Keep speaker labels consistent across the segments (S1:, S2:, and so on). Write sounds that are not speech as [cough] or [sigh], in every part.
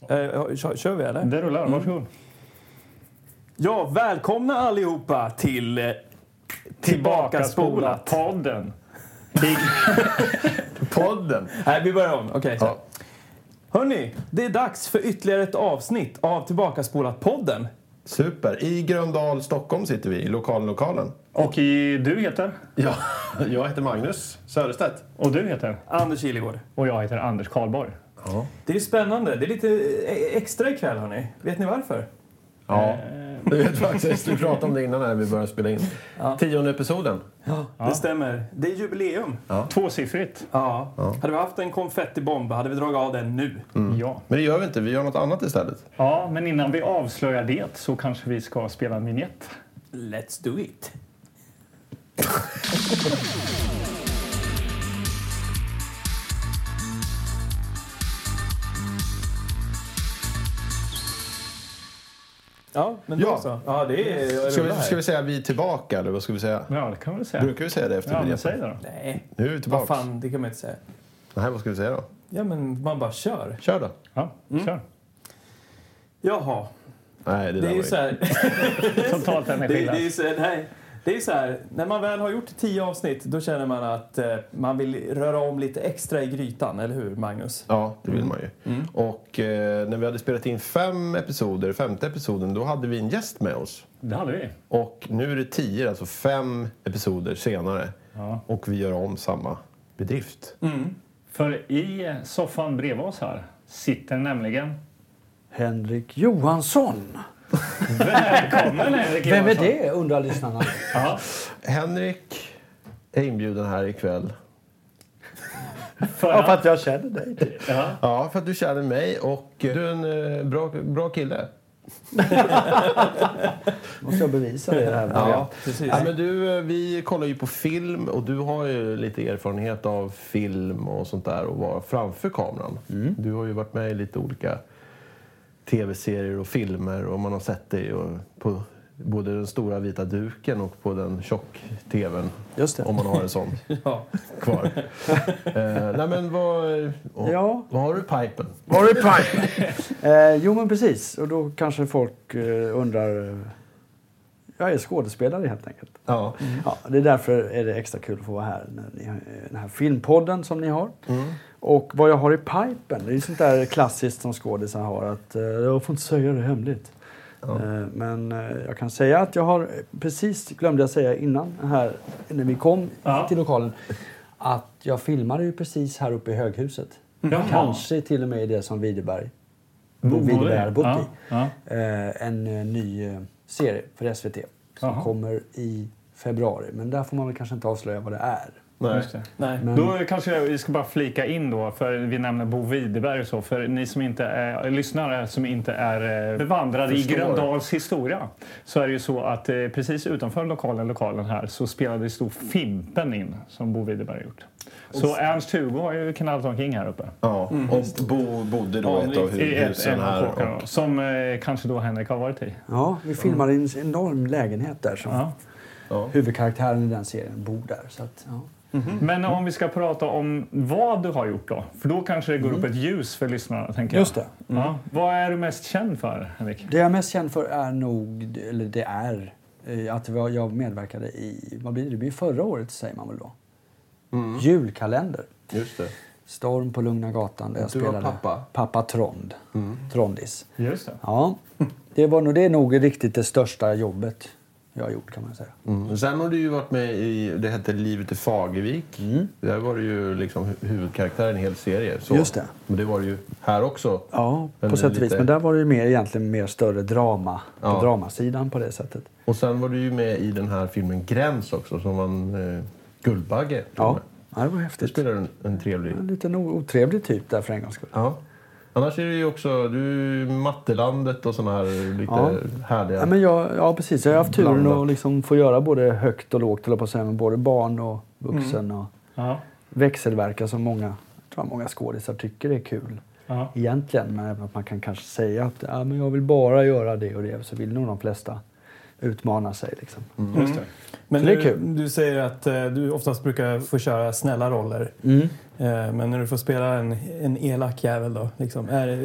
S1: Eh, kör, kör vi eller?
S2: Det rullar, varsågod.
S1: Ja, välkomna allihopa till eh,
S2: Tillbakaspola
S1: Tillbakaspolat.
S2: podden. Pigg.
S3: Podden.
S1: Nej, vi börjar om. Okej. så.
S3: Ja.
S1: Hörni, det är dags för ytterligare ett avsnitt av Tillbakaspolat-podden.
S3: Super. I Gröndal, Stockholm sitter vi, i lokallokalen.
S2: Och i, du heter?
S3: Ja, [laughs] jag heter Magnus Söderstedt.
S2: Och du heter?
S1: Anders Kilegård.
S2: Och jag heter Anders Karlborg.
S1: Det är ju spännande. Det är lite eh, extra ikväll, hörni. Vet ni varför?
S3: Ja, du vet faktiskt. Vi pratade om det innan när vi började spela in. Tionde episoden.
S1: Ja, det stämmer. Det är jubileum.
S2: Tvåsiffrigt.
S1: Ja. Hade vi haft en konfettibomb hade vi dragit av den nu.
S2: Ja.
S3: Men det gör vi inte, vi gör något annat istället.
S2: ja, men innan vi avslöjar det så kanske vi ska spela en vignett.
S1: Let's do it. Ja, men då
S3: Ja.
S1: så. Ja, det är... jag
S3: Ska vi,
S1: rullar här.
S3: ska vi säga vi är tillbaka eller vad ska vi säga?
S2: Ja, det kan man väl säga.
S3: Brukar vi säga det efter
S2: Ja, men
S3: biljetten?
S2: säg det då.
S1: Nej,
S3: Nu är vi
S1: vad
S3: tillbaka.
S1: fan, det kan man inte säga.
S3: Nej, vad ska vi säga då?
S1: Ja, men man bara kör.
S3: Kör då.
S2: Ja, kör.
S1: Jaha,
S3: Nej, det,
S1: det
S3: där
S1: är
S3: var
S1: ju
S3: ju-
S1: så här...
S2: Totalt
S1: Det, det, är
S2: energilöst.
S1: ju så, nej, det är så här, när man väl har gjort tio avsnitt då känner man att eh, man vill röra om lite extra i grytan, eller hur Magnus?
S3: Ja, det vill man ju.
S1: Mm.
S3: Och eh, när vi hade spelat in fem episoder, femte episoden, då hade vi en gäst med oss.
S2: Det hade vi.
S3: Och nu är det tio, alltså fem episoder senare.
S2: Ja.
S3: Och vi gör om samma bedrift.
S2: För i soffan bredvid oss här sitter nämligen...
S4: Henrik Johansson.
S2: Välkommen Henrik
S4: Vem är
S2: Johansson.
S4: det undrar lyssnarna.
S2: Ja,
S3: Henrik är inbjuden här ikväll.
S2: för
S4: [laughs] Ja, för
S2: att,
S4: att jag känner dig.
S2: ja,
S3: Ja, för att du känner mig och eh, du är en eh, bra, bra kille.
S4: Måste jag bevisa det här.
S3: Ja,
S1: precis.
S3: Ja, men du, eh, vi kollar ju på film och du har ju lite erfarenhet av film och sånt där och vara framför kameran. Du har ju varit med i lite olika tv-serier och filmer och man har sett dig och på både den stora vita duken och på den tjock-tvn.
S4: Just det.
S3: Om man har
S2: [laughs]
S3: en sån
S1: Ja.
S3: kvar. eh, nej men vad... Oh,
S4: Ja.
S3: Vad har du i pipen?
S4: Var är Pipe? eh, jo, men precis. Och då kanske folk eh, undrar... eh, Jag är skådespelare helt enkelt.
S3: Ja.
S4: Ja, det är därför är det extra kul att få vara här. När ni, eh, den här filmpodden som ni har. Och vad jag har i pipen, det är ju sånt där klassiskt som skådisar har. Att, eh, jag får inte säga det hemligt. Eh, men eh, jag kan säga att jag har, precis glömde jag säga innan här när vi kom
S2: Ja.
S4: till lokalen. Att jag filmade ju precis här uppe i höghuset.
S2: Jaha.
S4: Kanske till och med i det som Widerberg, Bo
S2: Bodde i.
S4: Widerberg hade bott
S2: Ja,
S4: i.
S2: ja.
S4: Eh, en eh, ny eh, serie för SVT som
S2: Jaha.
S4: kommer i februari. Men där får man väl kanske inte avslöja vad det är.
S3: Nej.
S2: just det.
S1: Nej.
S4: Men,
S2: Då kanske vi ska bara flika in då, för vi nämner Bo Widerberg och så, för ni som inte är lyssnare som inte är eh, bevandrade
S3: Förstår.
S2: i Gröndals historia, så är det ju så att eh, precis utanför lokalen, lokalen här, så spelade stor Fimpen in, som Bo Widerberg gjort. Så Ernst-Hugo har ju knallat omkring här uppe.
S3: Ja.
S4: Mm.
S3: Och bo, bodde då i ett av
S2: I
S3: hu-
S2: ett-
S3: husen
S2: en av
S3: här.
S2: kåkarna
S3: Och,
S2: då, Som eh, kanske då Henrik har varit i.
S4: ja, vi filmar i en enorm lägenhet där. Som
S2: Ja.
S3: ja.
S4: Huvudkaraktären i den serien bor där. Så att, ja.
S2: Men om vi ska prata om vad du har gjort då, för då kanske det går upp ett ljus för lyssnarna, tänker jag.
S4: Just det.
S2: Ja. Vad är du mest känd för, Henrik?
S4: Det jag är mest känd för är nog, eller det är, eh, att jag jag medverkade i, vad blir det, det blir förra året säger man väl då? Julkalender.
S3: Just det.
S4: Storm på Lugna Gatan där jag
S3: Du var
S4: spelade
S3: pappa.
S4: pappa Trond. Trondis.
S2: Just det.
S4: Ja, det, var nog, det är nog riktigt det största jobbet jag har gjort kan man säga.
S3: Mm. Sen har du ju varit med i, det hette Livet i Fagervik.
S4: Mm.
S3: Där var du ju liksom hu- huvudkaraktär i en hel serie. Så.
S4: Just det.
S3: Men det var du ju här också.
S4: Ja,
S3: Men
S4: på sätt och
S3: lite-
S4: vis. Men där var det ju mer, egentligen mer större drama.
S3: Ja.
S4: På dramasidan på det sättet.
S3: Och sen var du ju med i den här filmen Gräns också som vann eh, Guldbagge.
S4: Ja, ja det var
S3: Det
S4: häftigt.
S3: spelar du en, en trevlig...
S4: En liten o- otrevlig typ där för en gångs skull.
S3: Ja. Annars är det ju också du är Mattelandet och såna här lite
S4: Ja.
S3: härliga...
S4: Ja, men jag, ja precis. Jag har haft turen
S3: Blandat.
S4: att liksom få göra både högt och lågt, eller på att säga, med både barn och vuxen.
S3: Mm.
S4: Och
S2: Ja.
S4: växelverka som många, tror jag många skådisar tycker är kul.
S2: Ja.
S4: egentligen. Men även att man kan kanske säga att ja, men jag vill bara göra det och det. Så vill nog de flesta utmanar sig. Liksom.
S3: Mm.
S2: Just det.
S1: Mm. Men
S4: Det är
S1: du,
S4: kul.
S1: du säger att eh, du oftast brukar få köra snälla roller. Eh, Men när du får spela en, en elak jävel då, liksom, är, det-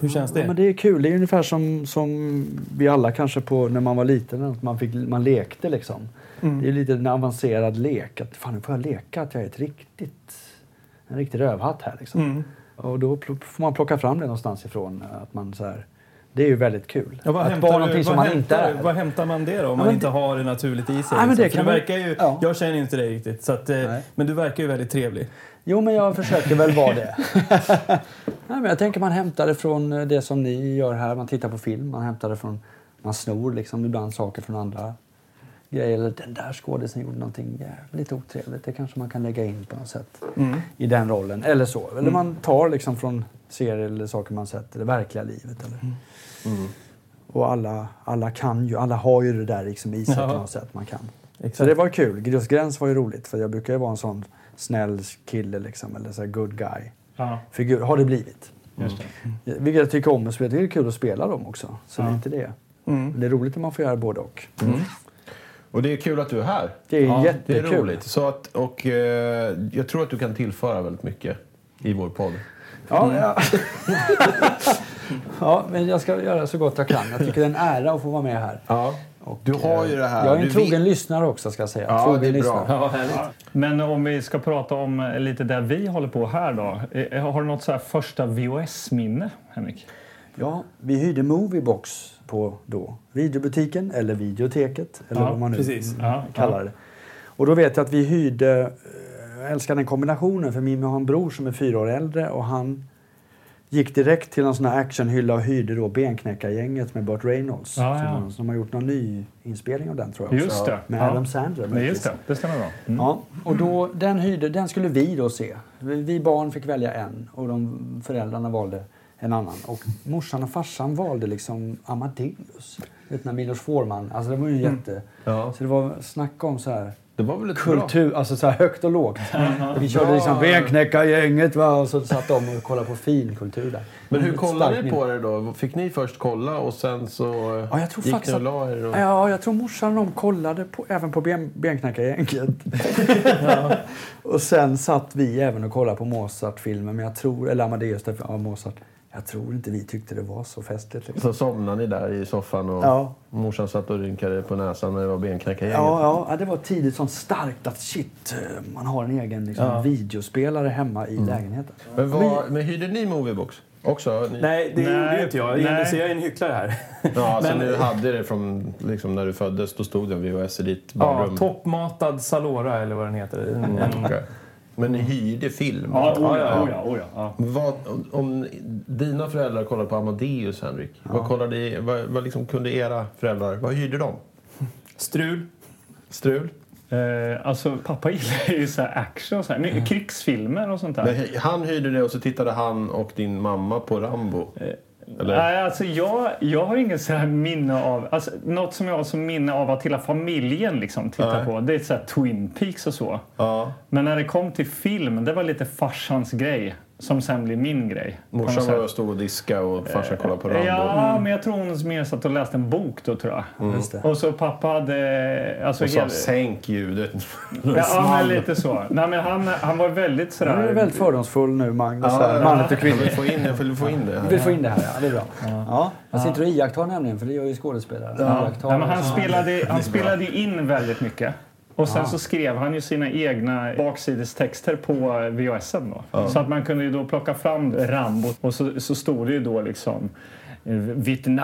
S1: hur känns det?
S4: Ja, men det är kul. Det är ungefär som, som vi alla kanske på när man var liten, att man, fick, man lekte liksom.
S1: Mm.
S4: Det är lite en avancerad lek. Att fan, nu får jag leka att jag är ett riktigt, en riktig rövhatt här liksom.
S1: Mm.
S4: Och då pl- får man plocka fram det någonstans ifrån. Att man så här, det är ju väldigt kul.
S1: Ja, vad
S4: att
S1: hämtar
S4: vara
S1: du-
S4: någonting som
S1: vad
S4: man inte
S1: hämtar-
S4: är.
S1: Vad hämtar man det då om
S4: Ja,
S1: man
S4: men
S1: inte
S4: det-
S1: har det naturligt i sig?
S4: Ja, men det
S1: liksom? För
S4: kan man-
S1: verkar ju,
S4: ja.
S1: Jag känner ju inte dig riktigt, så att, eh,
S4: Nej.
S1: men du verkar ju väldigt trevlig.
S4: Jo, men jag försöker väl vara det.
S1: [laughs]
S4: Nej, men jag tänker man hämtar det från eh, det som ni gör här. Man tittar på film, man hämtar det från... Man snor liksom ibland saker från andra grejer. Eller den där skådisen gjorde någonting jävligt otrevligt. Det kanske man kan lägga in på något sätt
S1: Mm.
S4: i den rollen. Eller så. Eller man tar liksom från serier eller saker man sett i det verkliga livet. Eller.
S1: Mm.
S3: Mm.
S4: Och alla, alla kan ju, alla har ju det där liksom i sig på
S1: Ja.
S4: något sätt man kan.
S1: Exakt.
S4: Så det var kul. Just Gräns var ju roligt för jag brukar ju vara en sån snäll kille liksom, eller så här good guy.
S2: Ja,
S4: Figur har det blivit.
S2: just det.
S4: Vilket jag tycker om att spela. Det är kul att spela dem också. Så det är inte det.
S1: Mm.
S4: Det är roligt när man får göra både och.
S3: Och det är kul att du är här.
S4: Det är
S1: Ja, det är
S3: Det är
S4: jättekul.
S3: roligt. Så att, och, eh, jag tror att du kan tillföra väldigt mycket i vår podd.
S4: Ja, ja. [laughs] ja, men jag ska göra så gott jag kan. Jag tycker det är en ära att få vara med här. eh,
S3: Ja. du har ju det här.
S4: Jag är
S3: du
S4: en
S3: vet-
S4: trogen lyssnare också ska jag säga.
S3: Ja,
S4: trogen
S3: det är bra.
S4: lyssnare.
S1: Ja, härligt.
S2: Men om vi ska prata om eh, lite där vi håller på här då. Eh, Har du något så här första VHS-minne, Henrik?
S4: Ja, vi hyrde Moviebox på då videobutiken eller videoteket eller
S2: Ja,
S4: vad man nu
S1: precis.
S2: Ja,
S4: kallar det. Och då vet jag att vi hyrde, eh, jag älskar den kombinationen för Mimmi har en bror som är fyra år äldre och han gick direkt till en sån här actionhylla och hyrde då Benknäckargänget med Burt Reynolds.
S2: Ja,
S4: som
S2: ja.
S4: har- Som har gjort någon ny inspelning av den tror jag också.
S2: Just det.
S4: Med
S2: ja.
S4: Adam Sandler.
S2: Nej, just
S4: möjligtvis.
S2: det. Det stämmer bra. Mm.
S4: Ja, och då, den, hyrde, den skulle vi då se. Vi vi barn fick välja en och de föräldrarna valde en annan. Och morsan och farsan valde liksom Amadeus. Vet när Milos Forman, alltså det var ju
S2: Mm.
S4: jätte...
S3: Ja.
S4: Så det var snack om så här
S3: Det var väl ett bra...
S4: kultur, alltså så här högt och lågt. Vi körde liksom benknäckargänget va och så satt de och kollade på finkultur där.
S3: Men hur
S4: Ett
S3: kollade
S4: starkt
S3: ni
S4: minne.
S3: på det då? Fick ni först kolla och sen så eh,
S4: Ja, jag tror
S3: gick
S4: faktiskt
S3: ni och la er? Och...
S4: Ja, jag tror morsan och de kollade på, även på ben, [laughs] benknäckargänget. [laughs] och sen satt vi även och kollade på Mozart-filmen, men jag tror, eller Amadeus, där, ja, Mozart. Jag tror inte vi tyckte det var så festligt. Liksom.
S3: Så somnade ni där i soffan och
S4: Ja.
S3: morsan satt och rynkade på näsan när det var benknäckargänget?
S4: Ja, ja, ja, det var tidigt som starkt att shit, eh, man har en egen liksom, videospelare hemma i lägenheten.
S3: Men, vad, men hyrde ni Moviebox också? Ni...
S1: Nej, det
S2: Nej,
S1: gjorde ju inte jag. Nej.
S2: nej.
S1: Du ser, jag är en hycklare här.
S3: Ja, så
S1: Men-
S3: ni hade det från liksom, när du föddes? Då stod det en VHS i ditt
S1: Ja,
S3: barnrum?
S1: toppmatad Salora eller vad den heter. En-
S3: Mm, okej. Men ni hyrde film?
S2: Ja, oh ja, oh ja, oh ja. ja.
S3: Vad, om, om dina föräldrar kollade på Amadeus, Henrik, vad, kollade, vad, vad liksom kunde era föräldrar... Vad hyrde de?
S1: Strul.
S3: Strul?
S2: Eh, alltså, pappa gillar ju så här action, så här, ny- krigsfilmer och sånt där.
S3: Men hy- han hyrde det och så tittade han och din mamma på Rambo. Eller?
S2: Eh, Nej, alltså jag, jag har ingen så här minne av... Alltså, något som jag har som minne av att hela familjen liksom tittar
S3: Nej.
S2: på det är så här Twin Peaks och så.
S3: Ja.
S2: Men när det kom till film, det var lite farsans grej som sen blev min grej. på något
S3: Morsan
S2: sätt. Eh,
S3: var och stod och diskade och farsan kollade på Mm. Rambo.
S2: Ja, men jag tror hon mer satt och läste en bok då, tror jag.
S4: Just det.
S2: Och så pappa hade... Alltså,
S3: Och sa
S2: hel-
S3: sänk ljudet.
S2: Ja, men lite så. Nej, men han, han var väldigt
S4: Du
S2: sådär...
S4: är väldigt fördomsfull nu, Magnus.
S3: Ja,
S4: här,
S3: ja,
S4: manligt och
S3: Jag
S4: kvinnligt.
S3: vill få in, jag vill få in det
S4: Vi
S3: här.
S4: får in det här, ja. Det är bra. Ja. Jag sitter och iakttar nämligen, för det gör ju skådespelare.
S2: Ja.
S4: Iakttar
S2: Nej, men han
S4: och så.
S2: spelade, han spelade in väldigt mycket. Och sen så skrev han ju sina egna baksidestexter på VHSen då. Så att man kunde ju då plocka fram Rambo och så, så stod det ju då liksom eh,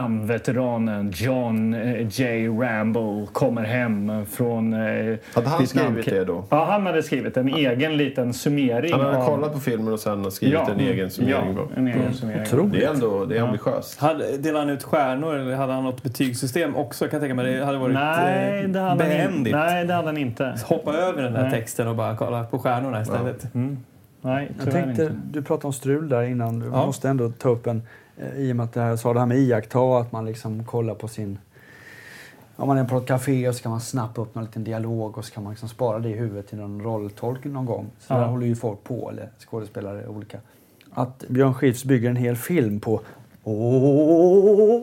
S2: Vietnamveteranen John eh, J. Rambo kommer hem från... eh,
S3: Hade han
S2: Vietnam-
S3: skrivit det då?
S2: Ja, han hade skrivit en egen liten summering.
S3: Han hade
S2: av-
S3: kollat på filmen och sen skrivit en egen summering. Mm.
S2: Ja,
S3: på.
S2: en egen summering.
S3: Det är ändå det är ambitiöst.
S1: Hade, delade han ut stjärnor eller hade han något betygssystem också? Jag kan tänka mig det hade varit
S2: Nej, det
S1: eh,
S2: hade han inte.
S1: behändigt.
S2: Nej, det hade han inte.
S1: Hoppa över den där
S2: Nej.
S1: texten och bara kolla på stjärnorna istället.
S2: Mm. Nej,
S4: Jag
S2: tyvärr
S4: tänkte,
S2: inte.
S4: du pratade om strul där innan. Du
S1: Ja.
S4: måste ändå ta upp en, eh, i och med att det här, jag sa det här med iaktta, att man liksom kollar på sin... Om man är på ett café och så kan man snappa upp någon liten dialog och så kan man liksom spara det i huvudet till någon rolltolkning någon gång. Så
S2: Ja.
S4: där håller ju folk på, eller skådespelare olika. Att Björn Skifs bygger en hel film på... Åh,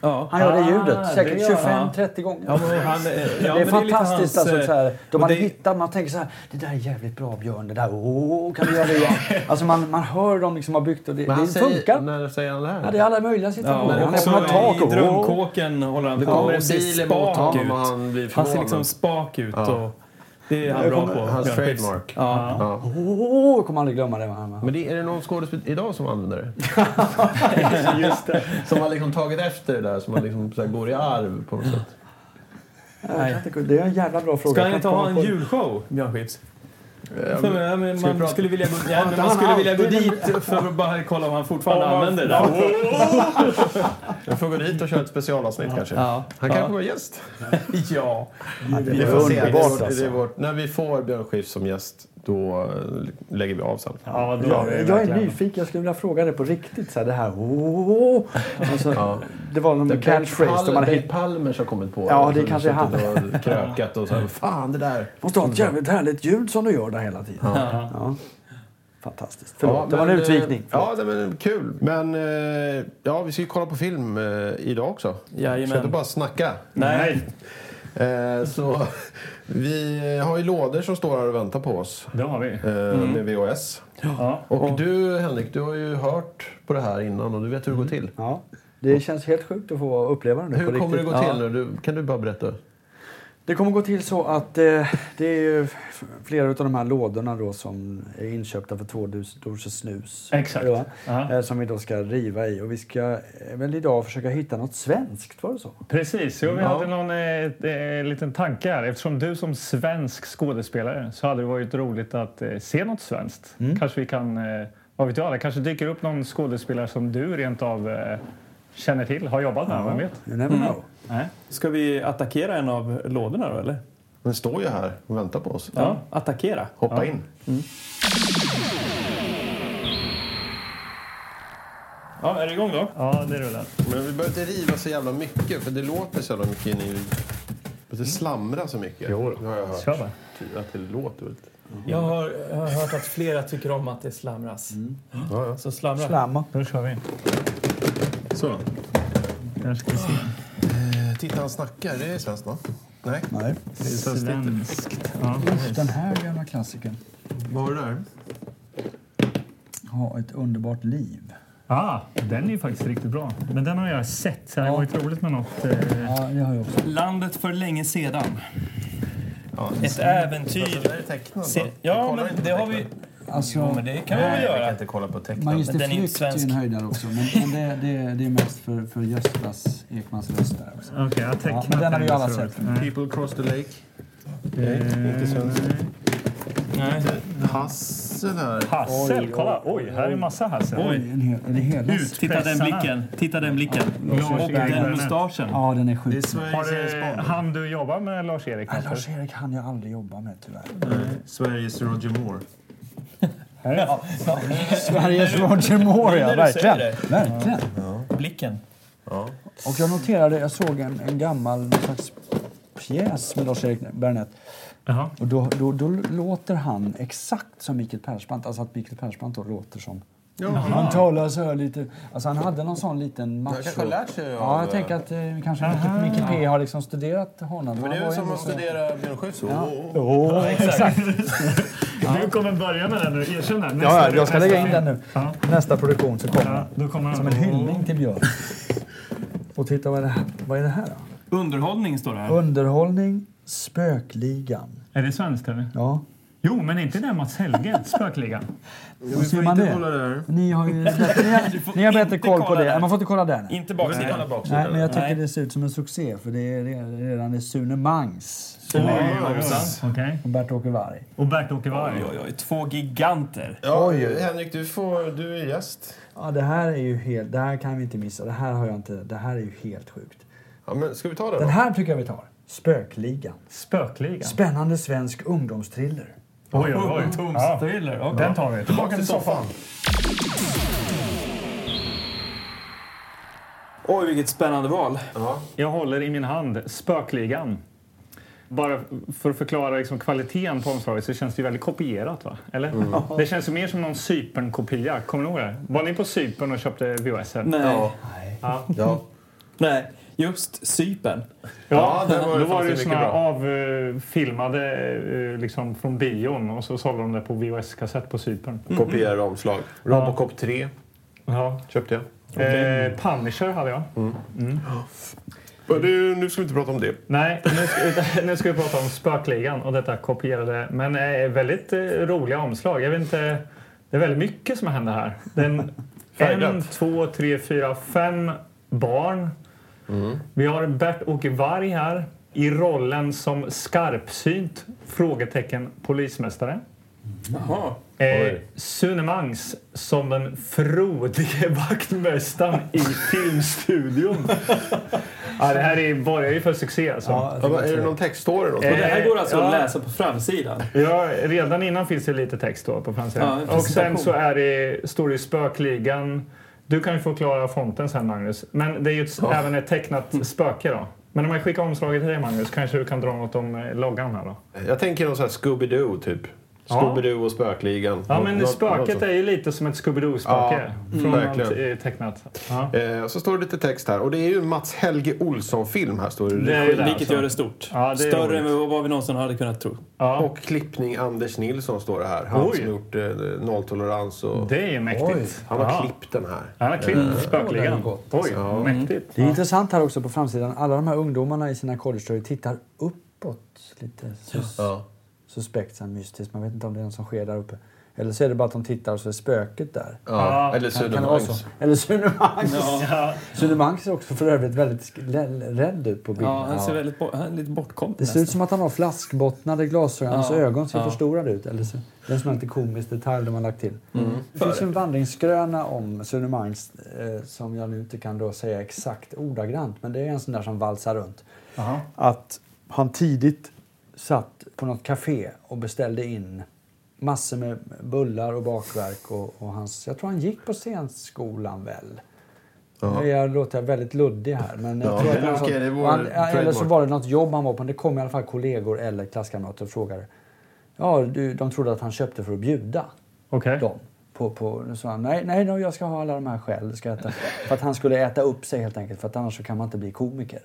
S1: Ja.
S4: Han gör det
S1: Ah,
S4: ljudet
S1: det
S4: säkert
S1: gör han.
S4: 25-30 gånger.
S1: Ja, men han, eh, ja,
S4: det är
S1: men lite
S4: fantastiskt.
S1: hans, eh,
S4: alltså, så här, de
S1: och
S4: hade
S1: det-
S4: hittat, man tänker så här, det där är jävligt bra Björn, det där, åh, kan vi
S1: [laughs]
S4: göra det igen? alltså man, man hör dem liksom ha byggt och det,
S3: Men
S4: det
S3: han
S4: funkar.
S3: säger, när säger han det här?
S4: Ja, det är alla möjliga
S1: Ja,
S4: situationer.
S1: men
S4: han är
S1: också
S4: på något tak
S1: i
S4: och...
S1: drömkåken håller han på.
S3: kommer en
S1: och ser
S3: bil emot honom
S1: spak
S3: och
S1: ut.
S3: han blir
S1: Han ser
S3: förvånad.
S1: liksom spak ut.
S3: Ja.
S1: Och det är han
S3: Jag
S1: bra
S3: kommer-
S1: på.
S3: hans
S1: Björn Skifs.
S3: trademark.
S1: Ja.
S3: Ja.
S4: Åh, kommer aldrig glömma det. va?
S3: Men det, är det någon skådespelare idag som använder
S1: [laughs]
S3: det?
S2: Just det.
S3: Som har liksom tagit efter det där, som har liksom så här går i arv på något sätt?
S4: Jag kan inte- Det är en jävla bra fråga.
S1: Ska
S4: Jag
S1: han
S4: kan
S1: inte ha
S4: komma
S1: en
S4: på-
S1: julshow, Björn Skifs?
S3: Ja,
S1: Nej, men- nej, men
S3: Ehm, Ska vi
S1: Man
S3: prata-
S1: skulle vilja gå, ja, men man
S4: han
S1: skulle vilja gå
S4: alltid-
S1: dit för att bara kolla om han fortfarande
S2: Om han-
S1: använder det där.
S3: Jag får gå dit och köra ett specialavsnitt kanske.
S1: Ja.
S3: Han kanske var gäst.
S1: Ja.
S4: Det är underbart
S3: Det är
S4: alltså.
S3: vårt, när vi får Björn Skifs som gäst, då eh, lägger vi av sen.
S2: Ja, då
S4: Jag,
S2: är det
S4: jag är
S2: verkligen-
S4: nyfiken. Jag skulle vilja fråga det på riktigt. Så här, det här... Åh, alltså, Det var
S3: Mm,
S4: någon catchphrase där man hade
S3: Bengt
S4: hittat...
S3: Palmers har kommit på
S4: Ja, det
S3: Så
S4: kanske är han.
S3: suttit
S4: [laughs]
S3: och krökat och så här, fan det där.
S4: Måste ha ett
S3: Mm.
S4: jävligt härligt ljud som du gör där hela tiden. Ja. Fantastiskt. Förlåt, det var en
S3: men,
S4: utvikning.
S3: eh, Ja, det var kul. Men eh, ja, vi ska ju kolla på film eh, idag också.
S1: Jajamän.
S3: Ska inte bara snacka.
S1: Nej.
S2: Nej,
S3: Eh, så [laughs] vi har ju lådor som står här och väntar på oss
S2: det har vi.
S3: eh,
S4: Mm.
S3: med VHS.
S2: Ja.
S3: Och du Henrik, du har ju hört på det här innan och du vet hur det går till.
S4: Ja, det känns helt sjukt att få uppleva det nu Mm. på
S3: Hur kommer det
S4: riktigt.
S3: gå till nu? Du, kan du bara berätta?
S4: Det kommer gå till så att eh, det är ju f- flera av de här lådorna då som är inköpta för två dus- doser snus.
S2: Exakt.
S4: Ja,
S2: Ja.
S4: eh, Som vi då ska riva i. Och vi ska eh, väl idag försöka hitta något svenskt, var det så?
S2: Precis, jo, vi
S3: Ja.
S2: hade någon eh, eh, liten tanke här. Eftersom du som svensk skådespelare så hade det varit roligt att eh, se något svenskt.
S4: Mm.
S2: Kanske vi kan, eh, vad vet jag, det kanske dyker upp någon skådespelare som du rent av eh, känner till, har jobbat med, vem vet?
S4: You
S3: Mm.
S4: never know.
S2: Nej.
S1: Ska vi attackera en av lådorna då, eller?
S3: Den står ju här och väntar på oss.
S1: Ja. Attackera.
S3: Hoppa in.
S1: Ja, är det igång då?
S2: Ja, det rullar.
S3: Men vi behöver inte riva så jävla mycket för det låter så jävla mycket in i... Det slamrar så mycket. Mm. Jo, det har jag hört.
S2: Kör bara.
S3: Att det låter lite.
S5: Jag har, jag har hört att flera tycker om att det slamras.
S1: Mm.
S3: Ja, ja.
S5: Så slamrar.
S4: Slamma.
S2: Då kör vi.
S3: Så.
S2: Där ska vi se.
S3: Titta, han snackar. Det är svenskt, va? Nej.
S4: Nej.
S3: Det är svenskt.
S2: Svenskt. Ja.
S4: Den här gamla klassikern.
S3: Vad var det där?
S4: Ha ett underbart liv.
S2: Ah, den är ju faktiskt riktigt bra. Men den har jag sett, så det hade varit roligt med något. Eh,
S4: Ja, det har jag också.
S5: Landet för länge sedan.
S3: Ja,
S5: Ett äventyr.
S3: är tecknat,
S5: Se, ja, men det har vi...
S4: Alltså-
S5: Ja, men det kan vi väl göra.
S3: inte kolla på tecknat.
S5: Men den är inte svensk.
S4: höjdare också. Men, men det, det, det är mest för, för Göstas Ekmans röst där också.
S2: Okej, jag tecknar
S4: men den har vi alla
S2: så
S4: sett.
S2: roligt. Nej.
S3: People cross the lake. Eh, Nej, inte svenskt.
S5: Nej.
S3: Hassel här.
S2: Hassel, kolla! Oj, här är massa hassel.
S5: Oj.
S4: En hel, eller hela.
S5: Ut! Titta den blicken. Titta den blicken. Och den mustaschen.
S4: Ja, den är sjuk.
S3: Det är Sveriges
S2: Har du,
S3: James Bond.
S2: han du jobbar med Lars-Erik?
S4: Ja, Lars-Erik hann jag aldrig jobba med tyvärr.
S3: Sveriges Roger Moore.
S4: Sveriges Roger Moore, ja.
S5: När du säger
S4: Verkligen.
S5: det.
S4: verkligen.
S5: Blicken.
S4: Och jag noterade, jag såg en, en gammal någon slags pjäs med Lars-Erik Bernett.
S2: Jaha.
S4: Och då, då, då låter han exakt som Mikael Persbrandt. Alltså att Mikael Persbrandt då låter som... Han talar så här lite... Alltså han hade någon sån liten macho...
S3: Han kanske har lärt sig
S4: Ja,
S3: av-
S4: jag tänker att eh, kanske Micke- Micke P har liksom studerat honom.
S3: Men det
S4: Han
S3: är väl
S4: var ju
S3: som
S4: ändå
S3: att
S4: så-
S3: studera Björn Skifs. Oh, Åh,
S2: Du kommer börja med den nu, erkänn det. Nästa-
S4: Ja, ja, jag
S2: nästa
S4: ska lägga in
S2: film.
S4: den nu.
S2: Ja.
S4: Nästa produktion så kommer
S2: Ja,
S4: den.
S2: då kommer han.
S4: Som en hyllning till Björn. Och titta, vad är det här, vad är det här då?
S1: Underhållning står det här.
S4: Underhållning, Spökligan.
S2: Är det svenskt eller?
S4: Ja.
S2: Jo, men inte den Mats
S4: [laughs]
S2: Helge, Spökligan.
S4: Hur ser man det?
S3: där.
S4: Ni har ju släppt, ni har, ni
S3: [laughs]
S4: har bättre
S5: inte
S4: koll på
S5: kolla
S4: det.
S5: där.
S4: Nej, Man får inte kolla där. Nej,
S5: Inte baksidan.
S3: Kolla baksidan.
S4: nej men jag tycker
S5: Nej.
S4: det ser ut som en succé för det är re- redan i Sune Mangs
S2: Okej.
S4: och Bert-Åke Varg.
S2: Och Bert-Åke Varg.
S5: Oj, oj, oj. Två giganter.
S3: Ja, Henrik, du, får, du är gäst.
S4: Ja, det här är ju helt, det här kan vi inte missa. Det här har jag inte, det här är ju helt sjukt.
S3: Ja, men ska vi ta det
S4: Den
S3: då?
S4: här tycker jag vi tar. Spökligan.
S2: Spökligan.
S4: Spännande svensk ungdomsthriller.
S2: Oj, oj, oj. Ja,
S5: Ungdomsthriller. okej.
S2: den tar vi. Tillbaka till soffan.
S1: Oj, vilket spännande val.
S2: Jag håller i min hand Spökligan. Bara för att förklara liksom kvaliteten på omslaget så känns det ju väldigt kopierat. va? Eller?
S3: Mm.
S2: Det känns ju mer som någon Cypern-kopia. Kommer ni ihåg det? Var ni på Cypern och köpte VHS?
S1: Nej.
S3: Ja.
S2: Ja.
S3: ja.
S1: Nej, just Cypern.
S2: Ja,
S3: Ja, den var ju
S2: då var det ju
S3: faktiskt
S2: såna
S3: mycket bra.
S2: avfilmade eh, liksom från bion och så sålde de det på VHS-kassett på Cypern.
S3: Kopierade Mm-hmm. omslag. Robocop 3
S2: Ja.
S3: köpte jag.
S2: Eh, Punisher hade jag.
S3: Men det, nu ska vi inte prata om det.
S2: Nej, nu ska, utan- nu ska vi prata om Spökligan och detta kopierade men eh, väldigt eh, roliga omslag. Jag vet inte, det är väldigt mycket som händer här.
S3: [laughs]
S2: Den,
S3: Färgglatt.
S2: en, två, tre, fyra, fem barn.
S3: Mm.
S2: Vi har Bert-Åke Varg här i rollen som skarpsynt frågetecken polismästare.
S1: Jaha.
S2: Eh,
S3: Oj.
S2: Sune Mangs som den frodige [laughs] vaktmästaren i
S3: [laughs]
S2: filmstudion. ja, det här är, borgar ju för succé. Alltså.
S3: Ja, men är det någon textstory? Något?
S2: Eh.
S1: Och det här går alltså
S2: Ja.
S1: att läsa på framsidan.
S2: Ja, redan innan finns det lite text då på
S1: Ja,
S2: framsidan.
S1: en
S2: och sen
S1: presentation.
S2: så är det, står det i Spökligan. Du kan ju förklara fonten sen, Magnus. Men det är ju ett, även ett
S1: Mm.
S2: tecknat spöke då. Men om jag skickar omslaget till dig, Magnus, kanske du kan dra något om eh, loggan här då?
S3: Jag tänker någon sån här Scooby-Doo typ. Scooby-Doo och Spökligan.
S2: Ja, men
S3: Något- något
S2: spöket
S3: sånt.
S2: är ju lite som ett Scooby-Doo-spöke.
S3: Ja,
S2: från
S3: verkligen.
S2: något eh, tecknat. Ja.
S3: Eh, och så står det lite text här. Och det är ju en Mats Helge Olsson-film här står det.
S2: Det är ju det,
S1: Vilket
S2: alltså.
S1: gör det stort.
S2: Ja, det är
S1: Större
S2: roligt.
S1: än vad vi någonsin hade kunnat tro.
S2: Ja,
S3: Och klippning Anders Nilsson står det här. Han
S2: Oj.
S3: som gjort eh, Nolltolerans och...
S2: det är ju mäktigt.
S3: Han har
S2: ja.
S3: klippt den här.
S2: Han har klippt
S6: den
S2: Spökligan.
S6: är gott,
S2: Oj, mäktigt.
S4: Det är intressant här också på framsidan. Alla de här ungdomarna i sina collegetröjor tittar uppåt. Lite sus-
S3: Ja.
S4: suspekt, så här mystiskt. Man vet inte om det är något som sker där uppe. Eller så är det bara att de tittar och så är spöket där.
S3: Ja. Eller
S4: Kan, kan det vara
S3: Södermalms.
S4: så? Eller Sune Mangs.
S2: Ja.
S4: Sune Mangs ser också för övrigt väldigt sk- lä- rädd ut på bilden.
S1: Ja, han ser väldigt bo- han är lite bortkommen
S4: Det ser ut som att han har flaskbottnade glasögon. Hans
S1: Ja,
S4: ögon ser
S1: ja.
S4: förstorade ut. Eller så. Det är en sån här lite komisk detalj de har lagt till.
S1: Mm.
S4: Det finns ju en vandringsgröna om Sune Mangs eh, som jag nu inte kan då säga exakt ordagrant. Men det är en sån där som valsar runt.
S2: Aha.
S4: Att han tidigt satt på något café och beställde in massor med bullar och bakverk. Och, och hans, jag tror han gick på scenskolan väl. Nu är Jag låter jag väldigt luddig här. Men jag
S3: Ja,
S4: tror att
S3: det
S4: det var
S3: är okej,
S4: så-
S3: det är vår
S4: och han, eller så
S3: trademark.
S4: var det något jobb han var på. Men det kom i alla fall kollegor eller klasskamrater och frågade. Ja, du, de trodde att han köpte för att bjuda
S2: Okej.
S4: dem. På, på, då sa han nej, nej, nej, jag ska ha alla de här själv. Ska jag äta. För att han skulle äta upp sig helt enkelt. För att annars så kan man inte bli komiker.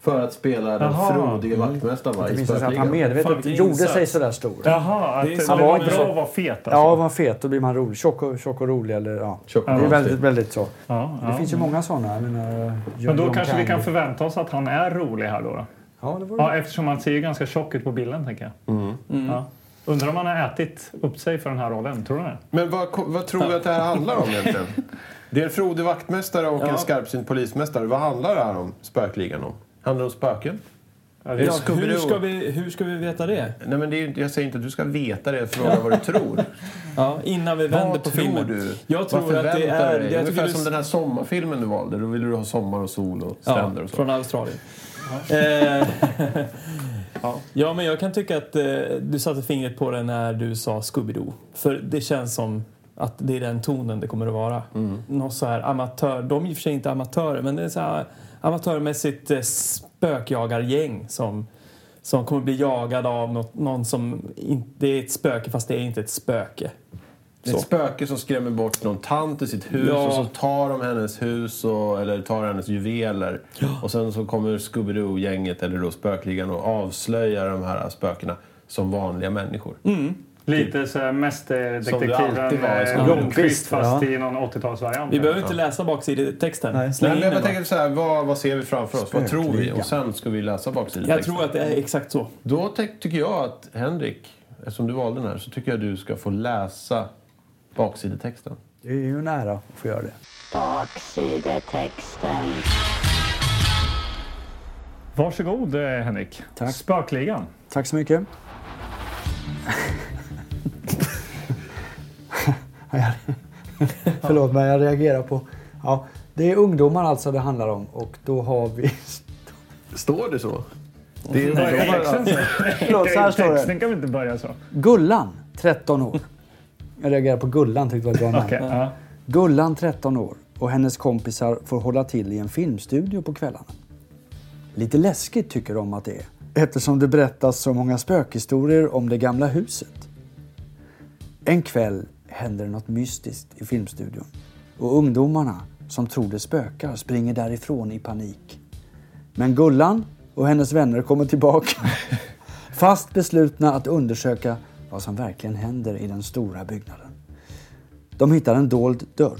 S3: För att spela den
S2: Jaha.
S3: frodige vaktmästaren va,
S4: Det
S3: i
S4: minns jag att han
S3: Spökligan.
S1: Fan,
S4: medvetet
S1: vilken
S4: gjorde
S1: insats.
S4: sig sådär stor.
S2: Jaha, att
S1: Det är
S2: det,
S1: så-
S4: Han var
S2: var
S4: inte
S2: bra
S4: så-
S2: att vara fet alltså.
S4: Ja, var fet. Då blir man rolig. Tjock och, tjock och rolig. Eller, ja.
S3: Tjock och
S4: det är
S3: konstig.
S4: väldigt, väldigt så.
S2: Ja,
S4: Det
S2: ja.
S4: finns ju många sådana. Jag menar,
S2: Men då
S4: John
S2: kanske vi
S4: Candy.
S2: kan förvänta oss att han är rolig här då? då.
S4: Ja, det vore
S2: Ja, eftersom han ser ju ganska tjock ut på bilden, tänker jag.
S4: Mm.
S2: Ja. Undrar om han har ätit upp sig för den här rollen, tror du det?
S3: Men vad, ko- vad tror vi att det här handlar om [laughs] egentligen? Det är en frodig vaktmästare och en skarpsynt polismästare. Vad handlar det här om, Spökligan om? Handlar det om spöken?
S2: Ja,
S3: Är det
S1: Ja, hur,
S3: Scooby-Doo?
S1: ska vi, hur ska vi veta det?
S3: Nej, men det är, ju inte- jag säger inte att du ska veta det, jag frågar vad du [laughs] tror.
S1: Ja, innan vi vänder
S3: vad
S1: på
S3: tror
S1: filmen.
S3: du?
S1: Jag tror
S3: vad förväntar
S1: att det är...
S3: du dig?
S1: Jag tycker
S3: Ungefär
S1: du-
S3: som den här sommarfilmen du valde. Då ville du ha sommar och sol och
S1: ja,
S3: stränder och så.
S1: från Australien. Eh, ja. [laughs] ja, men jag kan tycka att eh, du satte fingret på det när du sa Scooby-Doo. För det känns som att det är den tonen det kommer att vara. Någon så här amatör... De är i och för sig inte amatörer, men det är så här amatörmässigt eh, spökjagargäng som som kommer bli jagad av något, någon som inte det är ett spöke fast det är inte ett spöke.
S3: Det är ett spöke som skrämmer bort någon tant i sitt hus
S1: Ja.
S3: och så tar de hennes hus och, eller tar hennes juveler. Och sen så kommer Scooby-Doo-gänget, eller då spökligan, och avslöjar de här spökena som vanliga människor.
S1: Mm.
S2: Lite så här
S3: Som det alltid
S2: mästerdetektiven
S3: var i
S2: eh,
S3: skolan.
S2: Blomqvist, fast
S4: Ja.
S2: i någon 80-talsvariant.
S1: Vi behöver inte läsa baksidetexten.
S4: Nej.
S1: Släng
S3: Nej, men
S1: in den
S3: jag bara
S1: bara.
S3: tänker så här, vad, vad ser vi framför oss? Vad tror vi? Och sen ska vi läsa
S1: Jag
S3: baksidetexten.
S1: tror att det är exakt så.
S3: Då ty- tycker jag att Henrik, eftersom du valde den här, så tycker jag att du ska få läsa baksidetexten.
S4: Det är ju en ära att få göra det.
S7: Baksidetexten.
S2: Varsågod, eh, Henrik.
S4: Tack.
S2: Spökligan.
S4: Tack så mycket. [laughs] [laughs] Förlåt, men jag reagerar på... Ja, det är ungdomar alltså det handlar om och då har vi...
S3: Står det så? Det är
S4: [laughs] Förlåt, så här står det.
S2: Texten kan vi inte börja så.
S4: Gullan, 13 år. Jag reagerar på Gullan, tyckte det var ett bra namn.
S2: Okej, ja.
S4: Gullan, 13 år, och hennes kompisar får hålla till i en filmstudio på kvällarna. Lite läskigt tycker de att det är, eftersom det berättas så många spökhistorier om det gamla huset. En kväll händer något mystiskt i filmstudion och ungdomarna som tror det spökar springer därifrån i panik. Men Gullan och hennes vänner kommer tillbaka. [laughs] Fast beslutna att undersöka vad som verkligen händer i den stora byggnaden. De hittar en dold dörr.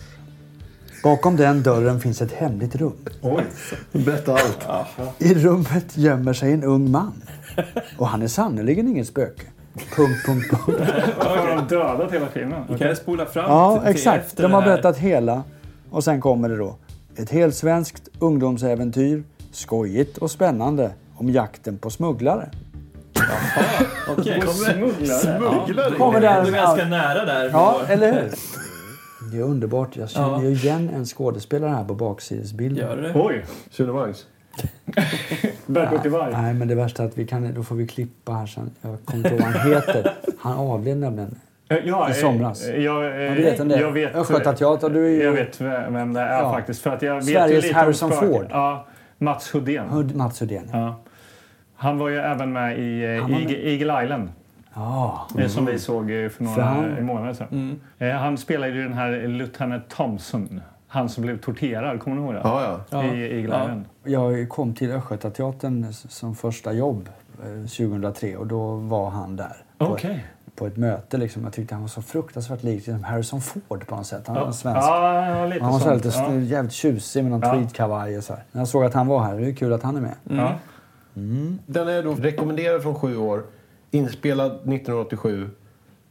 S4: Bakom den dörren finns ett hemligt rum.
S8: Berätta allt.
S4: I rummet gömmer sig en ung man. Och han är sannerligen ingen spöke. Punkt, punkt, punkt.
S2: Har de dödat hela filmen?
S1: Kan jag spola fram
S4: Ja,
S1: till- till
S4: exakt.
S1: efter
S4: De
S1: det
S4: har
S1: här?
S4: berättat hela. Och sen kommer det då. Ett helsvenskt ungdomsäventyr. Skojigt och spännande. Om jakten på smugglare.
S1: Okej.
S2: Smugglare?
S4: Kommer
S1: Du är
S4: där
S1: ganska nära där.
S4: Ja, eller hur? Det är underbart. Jag känner
S1: Ja.
S4: ju igen en skådespelare här på baksidesbilden.
S1: Gör du det?
S2: Oj!
S8: Sune Wangs.
S2: Bergkort i varg.
S4: Nej, men det värsta är att vi kan, då får vi klippa här sen. Jag kommer inte ihåg vad han heter. Han avled nämligen.
S2: Ja,
S4: I somras.
S2: eh, Jag, eh,
S4: Ja, du vet vem det är.
S2: jag vet, eh,
S4: Östgötateatern, du är ju-
S2: Jag vet vem vem det är
S4: Ja.
S2: faktiskt. För att jag vet ju
S4: Sveriges
S2: lite om
S4: Harrison
S2: spöken.
S4: Ford.
S2: Ja, Mats Hudén.
S4: Hud- Mats Hudén. ja.
S2: Ja. Han var ju även med i eh,
S4: Han var
S2: Eagle, Eagle Island.
S4: Ja.
S2: eh, Som vi såg eh, för några
S4: För han- Mm.
S2: eh, månader sedan. Eh, Han spelade ju den här Lieutenant Thompson. Han som blev torterad, kommer du ihåg det?
S8: Ja, ja.
S1: Ja.
S2: I Eagle
S1: Ja.
S2: Island.
S4: Jag kom till Östgötateatern s- som första jobb eh, 2003 och då var han där. På-
S2: Okej.
S4: på ett möte. Liksom. Jag tyckte han var så fruktansvärt lik liksom Harrison Ford på något sätt. Han var en svensk.
S2: Ja, han var lite
S4: Han var så här
S2: sånt.
S4: lite
S2: ja.
S4: st- jävligt tjusig med någon
S2: Ja. Mm.
S4: tweedkavaj och så här. När jag såg att han var här, det är ju kul att han är med.
S2: Ja.
S8: Den är då rekommenderad från sju år, inspelad 1987,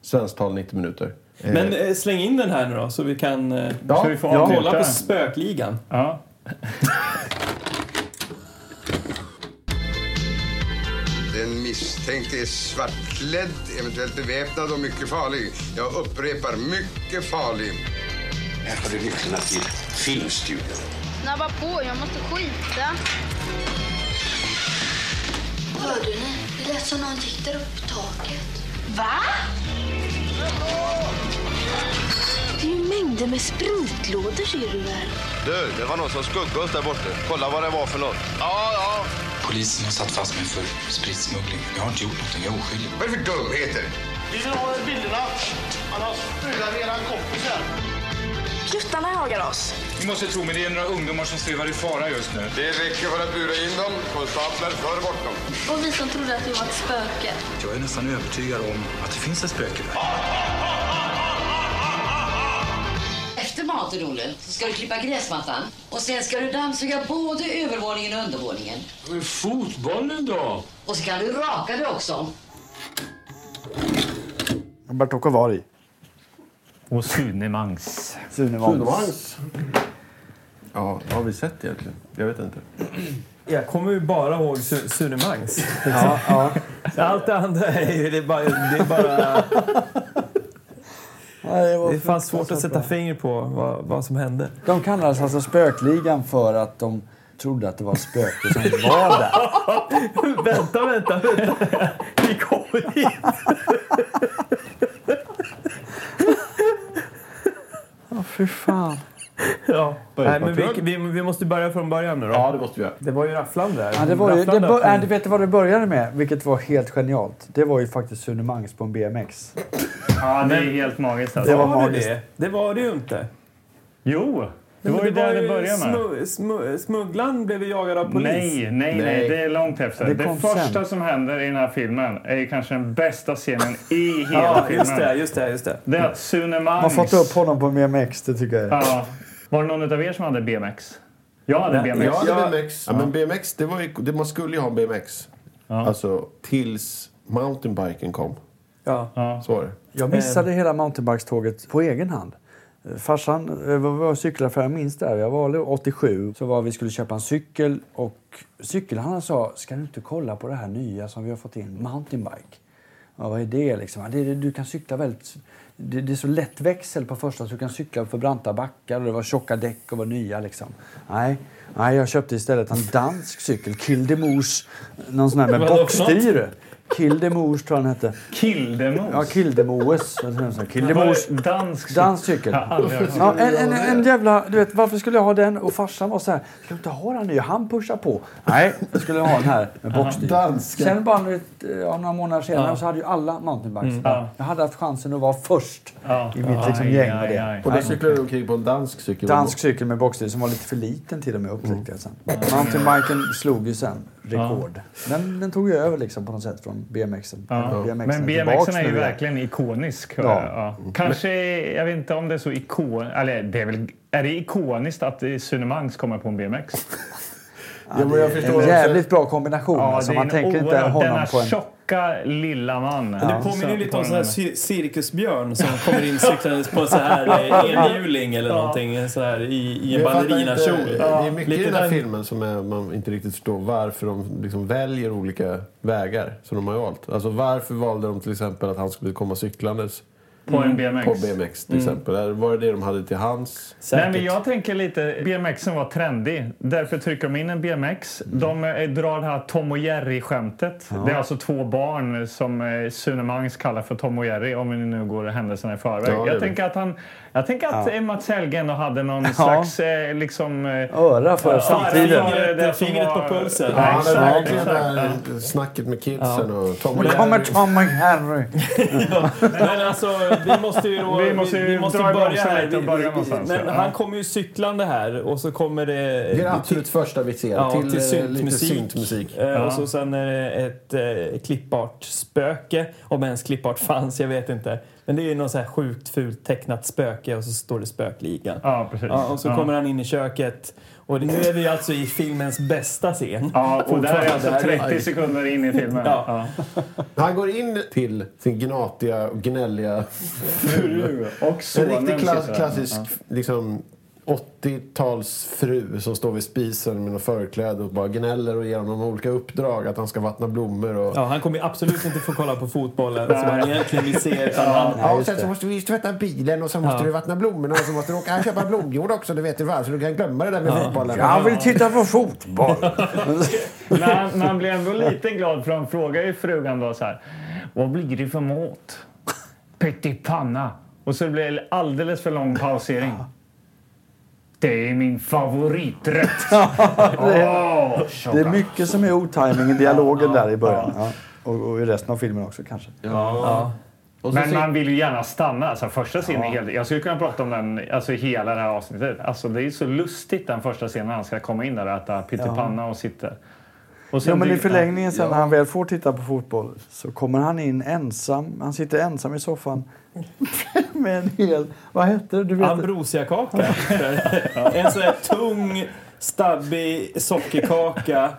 S8: svensktal 90 minuter. Eh,
S1: Men eh, släng in den här nu då så vi kan eh,
S8: ja,
S2: Så vi får
S8: ja,
S2: avbryta.
S1: kolla på
S2: det.
S1: spökligan.
S2: Ja.
S7: Den misstänkte är svartklädd, eventuellt beväpnad och mycket farlig. Jag upprepar, mycket farlig.
S9: Här har du nycklarna till filmstudion.
S10: Snabba på, jag måste skita.
S11: Hörde ni? Det lät som någon gick där uppe på taket.
S10: Va?
S11: Det är ju mängder med spritlådor ser du väl?
S12: Du, det var någon som skuggade oss där borta. Kolla vad det var för något. Ja, ja.
S9: Polisen har satt fast mig för spritsmuggling. Jag har inte gjort någonting, jag är oskyldig.
S7: Vad är det för dumheter?
S12: Vi vill ha bilderna. Annars spöar eran kompis här.
S11: Knuttarna jagar oss.
S9: Ni måste tro mig, det är några ungdomar som svävar i fara just nu.
S7: Det räcker för att bura in dem. Konstaplar, för bort dem.
S11: Och vi som trodde att du var ett spöke.
S9: Jag är nästan övertygad om att det finns ett spöke där.
S13: Efter maten, Olle, så ska du klippa gräsmattan. Och sen ska du dammsuga både övervåningen och undervåningen.
S12: Fotbollen då?
S13: Och så kan du raka dig också.
S4: Bert-Åke Varg.
S2: Och Sune Mangs.
S4: Sune
S8: Sune
S4: Wangs.
S8: Wangs. Ja, har vi sett det egentligen? Jag vet inte.
S1: Jag kommer ju bara ihåg Su- Sune Mangs.
S4: Ja, ja.
S1: [laughs] Allt det andra är ju... Det är bara... Det, är bara, det är fan svårt att sätta finger på vad, vad som hände.
S4: De kallades alltså Spökligan för att de trodde att det var spöke som var [laughs]
S1: [laughs]
S4: där.
S1: vänta, vänta, vänta. [laughs] Vi kommer hit.
S4: Ja, fy fan.
S1: Ja. Nej, men vi,
S8: Patrull.
S1: vi, vi måste börja från början nu då.
S8: Ja, det måste vi göra.
S1: Det var ju rafflande där.
S4: Ja, det var ju, det
S1: Rafflande
S4: bör,
S1: öppning.
S4: äh, du vet vad det började med, vilket var helt genialt. Det var ju faktiskt Sune Mangs på en BMX.
S2: Ja, det är helt magiskt. Alltså.
S4: Det var
S1: var det,
S4: magiskt.
S1: det? det var det ju inte.
S2: Jo, det var ju
S1: Men
S2: där det började med.
S1: smu- smu- smugglaren blev ju jagad av polis.
S2: Nej, nej, nej.
S8: Nej.
S2: Det är långt efter.
S4: Det
S2: Det,
S4: kom
S2: första
S4: sen.
S2: som händer i den här filmen är ju kanske den bästa scenen
S4: [laughs]
S2: i hela
S1: Ja,
S2: filmen.
S1: just det, just det, just det.
S2: Det är att Sune Mangs...
S4: Man fått upp honom på en BMX, det tycker jag är...
S2: Ja. Var det någon av er som hade BMX? Jag hade BMX.
S8: Jag hade
S1: Ja.
S8: BMX. Ja, men BMX, det var ju, det, man skulle ju ha en BMX. Alltså, tills mountainbiken kom.
S1: Ja.
S8: Så var det.
S4: Jag missade
S1: Ehm.
S4: hela mountainbikeståget på egen hand. Eh, Farsan eh, var, var cykelför, jag minns det här. Jag var väl 87. Så var vi skulle köpa en cykel och cykelhandlaren sa, ska du inte kolla på det här nya som vi har fått in, mountainbike? Ja, vad är det liksom? "Ja, Det, är- du kan cykla väldigt... Det, det är så lätt växel på första så du kan cykla för branta backar och det var tjocka däck och var nya liksom. Nej, nej jag köpte istället en dansk cykel, Kildemors, någon sån här med
S1: Vad var det för något?
S4: bockstyre. Kildemors tror jag han hette.
S2: Kildemos?
S4: Ja, Kildemoes. Kildemors.
S2: Var det Dansk
S4: Dansk cykel.
S2: Jag har aldrig hört talas
S4: Ja,
S2: om.
S4: en, en, en jävla... Du vet, varför skulle jag ha den? Och farsan var så här. Ska du inte ha den nu? Han pushar på. Nej, jag skulle ha den här med boxstyr.
S3: Danska.
S4: Sen bara nu, ett, ja, några månader senare så hade ju alla mountainbikes.
S2: Mm, Ja.
S4: Jag hade haft chansen att vara först
S2: Ja.
S4: i mitt liksom,
S2: Aj,
S4: gäng med
S2: aj,
S4: det.
S2: aj.
S3: Och då cyklar du omkring på en dansk cykel.
S4: Dansk cykel med boxstyr som var lite för liten till och med upptäckte jag sen.
S2: Mm.
S4: Mountainbiken slog ju sen rekord. Den, den tog ju över liksom på något sätt från BMXen.
S2: Ja.
S4: BMXen
S2: Men
S4: tillbaks
S2: BMXen är ju
S4: nu igen.
S2: verkligen ikonisk. hör
S4: Ja.
S2: jag. Ja. Kanske, jag vet inte om det är så ikon... Eller det är väl... Är det ikoniskt att det är Sunemangs kommer på en BMX?
S3: Ja, men jag förstår
S4: En
S3: också-
S4: jävligt bra kombination.
S2: Ja,
S4: alltså,
S2: det är
S4: man
S2: en
S4: tänker inte
S2: oerhörd-
S4: honom
S2: denna
S4: på en...
S2: tjocka lilla man.
S1: Det påminner ju lite om sån här cir- cirkusbjörn som kommer in cyklandes på en sån
S2: [laughs]
S1: här eh, enhjuling eller någonting så här, i, i en
S3: Jag fattar inte-
S1: ballerinakjol.
S3: Det är mycket i
S1: Lite
S3: den här
S1: den-
S3: filmen som är, man inte riktigt förstår varför de liksom väljer olika vägar som de har valt. Alltså varför valde de till exempel att han skulle komma cyklandes
S2: På en BMX.
S3: på BMX till exempel? Eller Var det det de hade till hands?
S2: Nej, men jag tänker lite, BMXen var trendig. Därför trycker de in en BMX. De eh, drar det här Tom och Jerry-skämtet. Det är alltså två barn som eh, Sune Mangs kallar för Tom och Jerry om vi nu går händelserna i förväg.
S3: Ja, det är
S2: jag,
S3: det.
S2: tänker att han, jag tänker att eh, Mats Helge ändå hade någon slags eh, liksom... eh,
S4: Öra för samtiden.
S2: det var det där
S1: Fingret,
S2: som
S1: fingret
S2: var-
S1: på pulsen.
S3: Ja, han hade
S2: exakt,
S3: verkligen det
S2: exakt,
S3: här snacket med kidsen och Tom och
S4: Nu
S3: Jerry.
S4: kommer Tom och Harry.
S1: [laughs] Men alltså, vi måste ju då...
S2: Vi måste ju dra igång så här lite och börja
S1: Vi- vi-
S2: någonstans.
S1: Men
S2: Ja.
S1: han kommer ju cyklande här och så kommer det...
S3: Det är det absolut första vi ser.
S1: Ja,
S3: till
S2: eh,
S1: till
S3: till lite
S1: syntmusik.
S3: syntmusik.
S1: Eh, Och så sen är det ett eh, klippart spöke, om ens klippart fanns, jag vet inte. Men det är ju något så här sjukt fult tecknat spöke och så står det spökligan.
S2: Ja, precis.
S1: Ja, och så
S2: Ja.
S1: kommer han in i köket och nu är vi alltså i filmens bästa scen.
S2: Ja, och där är
S1: Fortfarande,
S2: alltså
S1: det här är-
S2: 30 sekunder in i filmen.
S1: Ja.
S2: Ja.
S3: Han går in till sin gnatiga och gnälliga
S2: Och
S3: En
S2: sonen
S3: riktig klass,
S2: sitter där.
S3: klassisk liksom, 80-talsfru som står vid spisen med något förkläde och bara gnäller och ger honom olika uppdrag. Att han ska vattna blommor och...
S1: Ja, han kommer ju absolut inte få kolla på fotbollen som han egentligen vill se. Utan han,
S3: Ja, och sen så måste vi tvätta bilen och sen måste vi vattna blommorna och så måste du åka och köpa blomjord också, du vet du va? Så du kan glömma det där med fotbollen.
S4: Han vill titta på fotboll.
S2: Men han, man blir ändå lite glad för han frågar ju frugan då så här. Vad blir det för mat? Pyttipanna. Och så blir det alldeles för lång pausering. Det är min favoriträtt. Åh,
S4: Det är mycket som är otiming i dialogen där i början. Ja. Och, och i resten av filmen också kanske.
S2: Men man vill ju gärna stanna. Alltså, första scenen är helt, jag skulle kunna prata om den alltså, hela det här avsnittet. Alltså, det är ju så lustigt den första scenen när han ska komma in där och äta pyttipanna och sitter. Och sen
S4: Ja, men i
S2: dyker-
S4: förlängningen sen när han väl får titta på fotboll så kommer han in ensam. Han sitter ensam i soffan [laughs] med en hel... Vad hette det? Du vet, [laughs]
S1: Ambrosiakaka. [laughs] en sån här tung, stabbig sockerkaka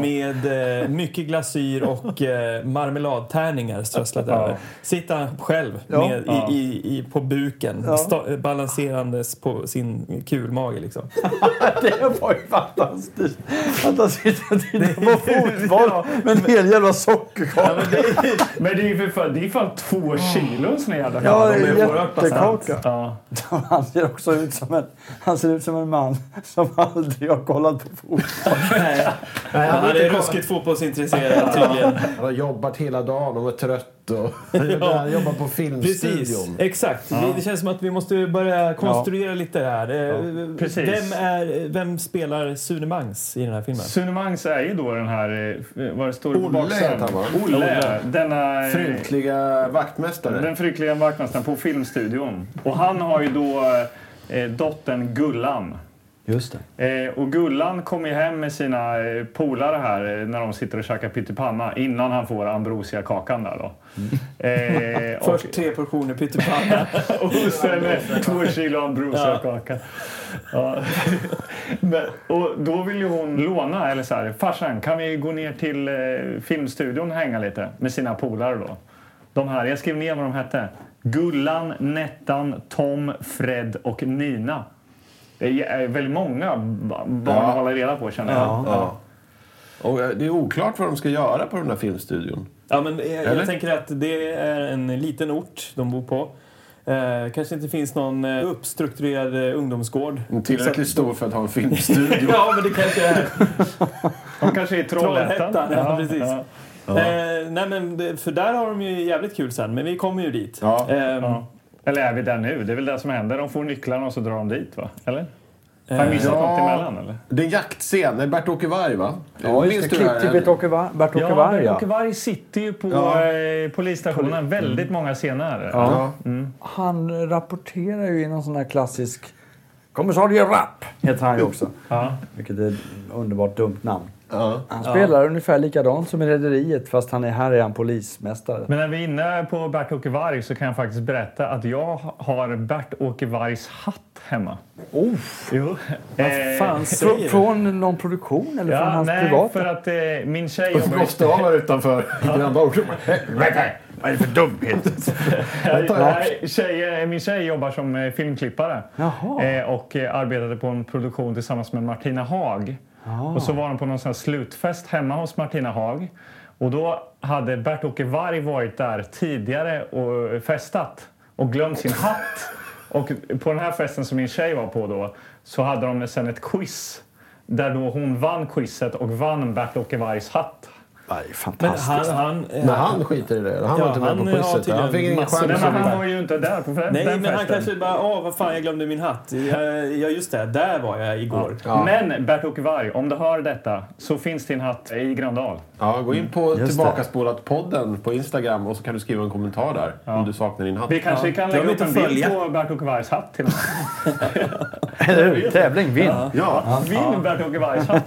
S1: med eh, mycket glasyr och eh, marmeladtärningar strösslat över. Sitter han själv
S4: Ja.
S1: med, i, i, i, på buken,
S4: Ja.
S1: sta- balanserandes på sin kulmage. Liksom.
S4: det var ju fantastiskt! Att han sitter och tittar på [laughs] fotboll med en hel jävla sockerkaka.
S2: Men det är ju för fan, det är fan två kilon såna jävla
S4: Ja, det är
S1: de är oerhört
S4: jättekaka.
S2: Ja.
S4: [laughs] Han ser också ut som en, han ser ut som en man [laughs] som aldrig har kollat på fotboll.
S3: Nej,
S1: Han
S3: han,
S1: är
S3: inte
S1: ruskigt fotbollsintresserad tydligen.
S3: han har jobbat hela dagen och är trött och han jobbar på filmstudion.
S1: Precis, exakt. Vi- Det känns som att vi måste börja konstruera lite här. Eh,
S2: Precis.
S1: Vem, är, vem spelar Sune Mangs i den här filmen?
S2: Sunemangs är ju då den här, eh, vad det står på
S3: Olle
S2: baksidan.
S3: heter han, va?
S2: Olle, denna... eh,
S3: Fryntliga vaktmästare.
S2: Den fryckliga marknadsnamn på Filmstudion. Och han har ju då eh, dottern Gullan.
S4: Just det.
S2: Eh, och Gullan kommer ju hem med sina eh, polare här eh, när de sitter och käkar pyttipanna innan han får ambrosiakakan där då.
S3: Mm.
S2: Eh,
S3: [laughs]
S2: och-
S1: Först tre portioner pyttipanna.
S2: och sen eh, två kilo ambrosiakaka. Ja. [laughs] Men, och då vill ju hon låna, eller så här, farsan kan vi gå ner till eh, filmstudion och hänga lite med sina polare då? De här, jag skrev ner vad de hette. Gullan, Nettan, Tom, Fred och Nina. Det är eh, väldigt många ba- barn
S3: Ja.
S2: att hålla reda på känner jag.
S3: Ja. Och eh, det är oklart vad de ska göra på den här filmstudion.
S1: [laughs] Ja, men eh, jag,
S3: Eller?
S1: jag tänker att det är en liten ort de bor på. Eh, kanske inte finns någon eh, uppstrukturerad eh, ungdomsgård.
S3: Tillräckligt stor för att ha en filmstudio.
S1: Ja, men det kanske är
S2: De kanske är i Trollhättan.
S1: Trollhättan. [laughs] Ja, precis. Eh, nej men, det- för där har de ju jävligt kul sen, men vi kommer ju dit.
S2: Ja.
S1: Ehm,
S2: Eller är vi där nu? Det är väl det som händer. De får nycklarna och så drar de dit, va? Eller? Har
S3: Eh,
S2: jag missat
S3: ja.
S2: något emellan, eller?
S3: [laughs] Det är en jaktscen. Det är Bert-Åke Varg, va?
S4: Ja, just det.
S3: Minns du här,
S4: Klipp till
S3: eller?
S4: Bert-Åke Var- Bert-Åke
S2: Ja,
S4: Varg. Ja,
S2: Åke Varg sitter ju på
S4: Ja. Mm.
S2: eh, polisstationen väldigt många scener.
S4: Ja. Han rapporterar ju i någon sån här klassisk... Kommissarie Rapp heter han ju också.
S2: Ja.
S4: Vilket är ett underbart dumt namn. Han spelar ungefär likadant som i Rederiet fast han är, här är han polismästare.
S2: Men när vi är inne på Bert-Åke Varg så kan jag faktiskt berätta att jag har Bert-Åke Vargs hatt hemma.
S4: Oh.
S2: Jo.
S4: Vad
S2: Eh,
S4: [laughs] fan säger du? Från någon produktion eller från hans
S2: nej,
S4: privata?
S2: för att eh, min tjej
S4: Och
S3: Stavar utanför. Grabbar också.
S2: Vad är det för dumhet?
S3: Vänta, ja.
S2: Nej, tjej, eh, min tjej jobbar som eh, filmklippare Eh, och eh, arbetade på en produktion tillsammans med Martina Haag.
S1: Ah.
S2: Och så var de på någon sån här slutfest hemma hos Martina Haag. Och då hade Bert-Åke Varg varit där tidigare och eh, festat och glömt sin hatt. Och på den här festen som min tjej var på då så hade de sen ett quiz där då hon vann quizet och vann Bert-Åke Vargs hatt.
S1: Men han, han, eh,
S3: Men han skiter i det. Han var inte med på
S1: har
S3: quizet.
S1: tydligen
S3: Han fick ingen
S1: massor-
S3: chans.
S1: Nej, men han
S3: att-
S1: var
S2: ju inte där på
S1: Nej,
S2: den
S1: men han
S2: festen.
S1: kanske bara, åh vad fan jag glömde min hatt. Ja, ja just det, där var jag igår.
S2: Men Bert-Åke Varg, om du hör detta så finns din hatt i Gröndal.
S3: Ja, gå in på
S2: Just det.
S3: Tillbakaspolat-podden på Instagram och så kan du skriva en kommentar där om du saknar din hatt.
S2: Vi kanske kan lägga upp en bild på Bert-Åke Vargs hatt till och
S4: [laughs] Eller hur? Tävling, vinn!
S3: Ja. Ja.
S2: Vinn Bert-Åke Vargs hatt!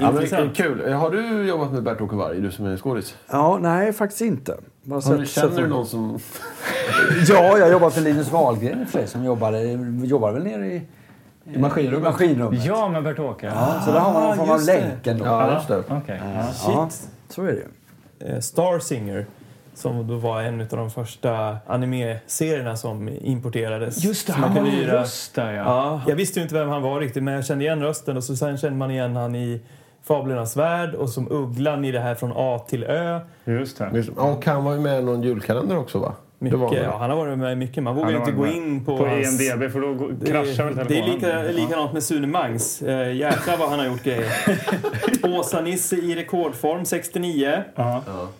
S3: Ja, men det är kul. Har du jobbat med Bert-Åke Varg, du som är skådis?
S4: Ja, nej faktiskt inte.
S3: Har
S4: Bara
S3: du-
S4: sett-
S3: Känner
S4: sett-
S3: du någon som...
S4: Ja, jag jobbar för Linus Wahlgren i och för sig, som jobbade, jobbar väl nere i eh,
S3: maskinrummet.
S4: maskinrummet.
S2: Ja, men Bert-Åke.
S4: Ja, så där har man någon form av länk ändå.
S1: Ja,
S4: just
S3: det.
S2: Okej.
S1: Ja, Shit.
S4: så är
S1: det ju. Star Singer, som då var en av de första anime-serierna som importerades.
S2: Just det,
S1: Som
S2: han
S1: man
S2: var
S1: kunde hyra.
S2: röst där, ja.
S1: ja. Jag visste ju inte vem han var riktigt, men jag kände igen rösten och så sen kände man igen han i Fablernas värld och som Ugglan i det här från A till Ö.
S2: Just det.
S3: Just- Ja, och han var ju med i någon julkalender också, va? Det
S1: Mycket,
S3: var han, va?
S1: ja, han har varit med mycket. Man vågar
S3: Han
S1: ju
S3: har
S1: inte gå
S3: varit
S1: in
S3: med.
S1: på
S2: På E
S1: hans...
S2: IMDB, för då
S1: Det-
S2: kraschar väl
S1: Det är
S2: telefonen.
S1: lika, likadant med Sune Mangs. Eh, jäklar vad han har gjort
S3: [laughs]
S1: grejer. Åsa-Nisse i rekordform 69.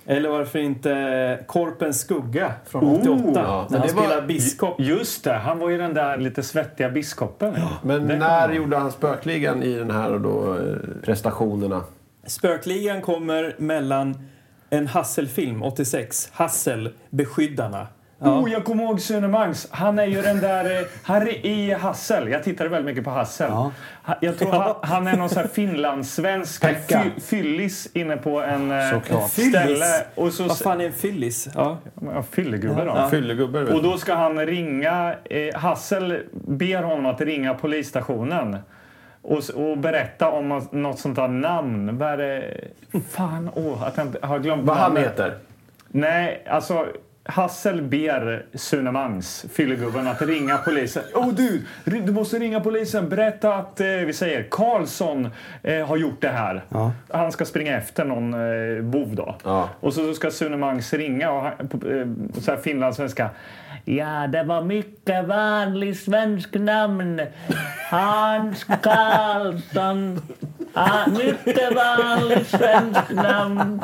S1: Eller varför inte Korpens skugga från 88. När han spelar biskop.
S2: Just det, han var ju den där lite svettiga biskopen.
S3: Men när gjorde han Spökligan i den här då, eh, prestationerna?
S1: Spökligan kommer mellan en Hasselfilm 86, Hassel, Beskyddarna. Ja.
S2: Oh, jag kommer ihåg Sune Mangs. Han är ju den där... eh, Han är i Hassel. Jag tittade väldigt mycket på Hassel. Ha- Jag tror han, han är någon sån här finlandssvensk
S1: Pekka.
S2: fy, fyllis inne på en eh,
S1: Såklart.
S2: ställe.
S1: Fyllis?
S2: Och så,
S1: Vad fan är en fyllis? Ja.
S2: Ja, fyllegubbe då.
S1: Ja.
S3: Fyllegubbe, vet
S2: Och då ska han ringa... Eh, Hassel ber honom att ringa polisstationen. Och, s- och berätta om nå- något sånt där namn. Vad är det? Fan, åh, att jag inte- har glömt
S3: Vad han
S2: namnet.
S3: heter?
S2: Nej, alltså Hassel ber Sune Mangs, fyllegubben, att ringa polisen. Åh du, ri- du måste ringa polisen. Berätta att, eh, vi säger, Karlsson eh, har gjort det här. Han ska springa efter någon eh, bov då.
S3: Ja.
S2: Och så ska Sune Mangs ringa och han, på, eh, så här finlandssvenska. Ja, det var mycket vanlig svensk namn. Hans Karlsson. Ah, mycket vanlig svensk namn.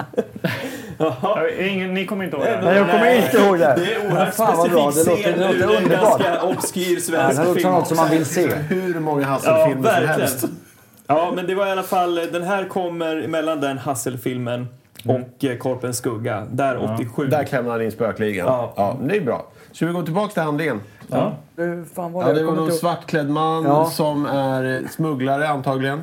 S2: Jag vet, Ingen, ni kommer inte ihåg det? här.
S4: Nej, jag kommer inte ihåg det.
S1: Det är
S4: Men
S1: oerhört
S4: fan vad
S1: specifik
S4: bra, det
S1: scen
S4: låter, det
S1: ur
S4: låter
S1: en
S4: underbart.
S1: ganska obskyr
S4: Ja,
S1: svensk
S4: det låter
S1: film.
S4: något som man vill se.
S3: Hur många
S1: Ja, verkligen. Ja, men det var i alla fall, den här kommer mellan den Hasselfilmen
S4: Mm.
S1: och eh, Korpens skugga. Där 87.
S3: Där klämde han in Spökligan.
S1: Ja.
S3: Ja, men det är bra. Ska vi gå tillbaka till handlingen?
S1: Ja.
S4: Du, fan vad
S3: Ja, det
S4: jag
S3: var
S4: kommer
S3: någon
S4: inte ihåg.
S3: svartklädd man
S4: Ja.
S3: som är smugglare antagligen.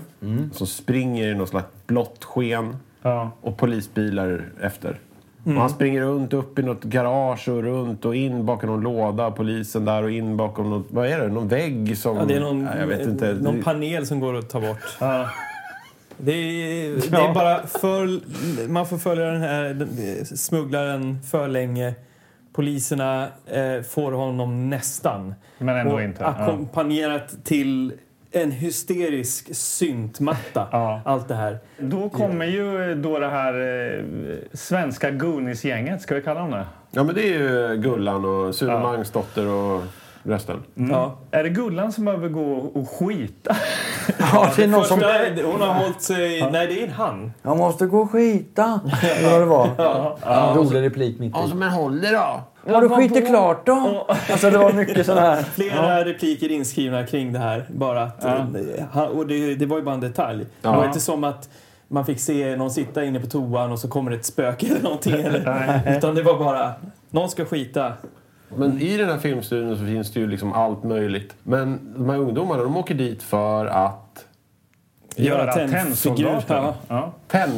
S3: Som springer i något slags blått sken.
S2: Ja.
S3: Och polisbilar efter.
S1: Mm.
S3: Och han springer runt upp i något garage och runt och in bakom någon låda. Polisen där och in bakom något, vad är det? Någon vägg som...
S1: Ja, det är någon,
S3: Mm. Nej, jag vet inte.
S1: någon panel som går att ta bort. Det är, det är bara för... Man får följa den här den, smugglaren för länge. Poliserna eh, får honom nästan.
S2: Men ändå
S1: och
S2: inte, ja.
S1: Ackompanjerat till en hysterisk syntmatta. Allt det här.
S2: Då kommer ju då det här eh, svenska Goonies-gänget, ska vi kalla dem det?
S3: Ja, men det är ju Gullan och Sune Mangs dotter och... rösten.
S2: Mm. Är det Gullan som behöver gå och skita?
S4: Ja, det är någon som...
S1: Nej, hon har hållit sig... Nej, det är en han.
S4: Jag måste gå och skita. Eller vad det var. En rolig replik mitt i.
S8: Alltså, men håller då!
S4: Har du skitit klart då? Alltså det var mycket sådana här.
S1: Flera repliker inskrivna kring det här. Bara att, eh, han- och det, det var ju bara en detalj. Det var inte som att man fick se någon sitta inne på toan och så kommer det ett spöke eller någonting. Eller, utan det var bara, någon ska skita.
S3: Men i den här filmstudion så finns det ju liksom allt möjligt. Men de här ungdomarna, de åker dit för att...
S1: Göra
S2: tennsoldater.
S1: tennfigurer. Ja.
S2: Ja.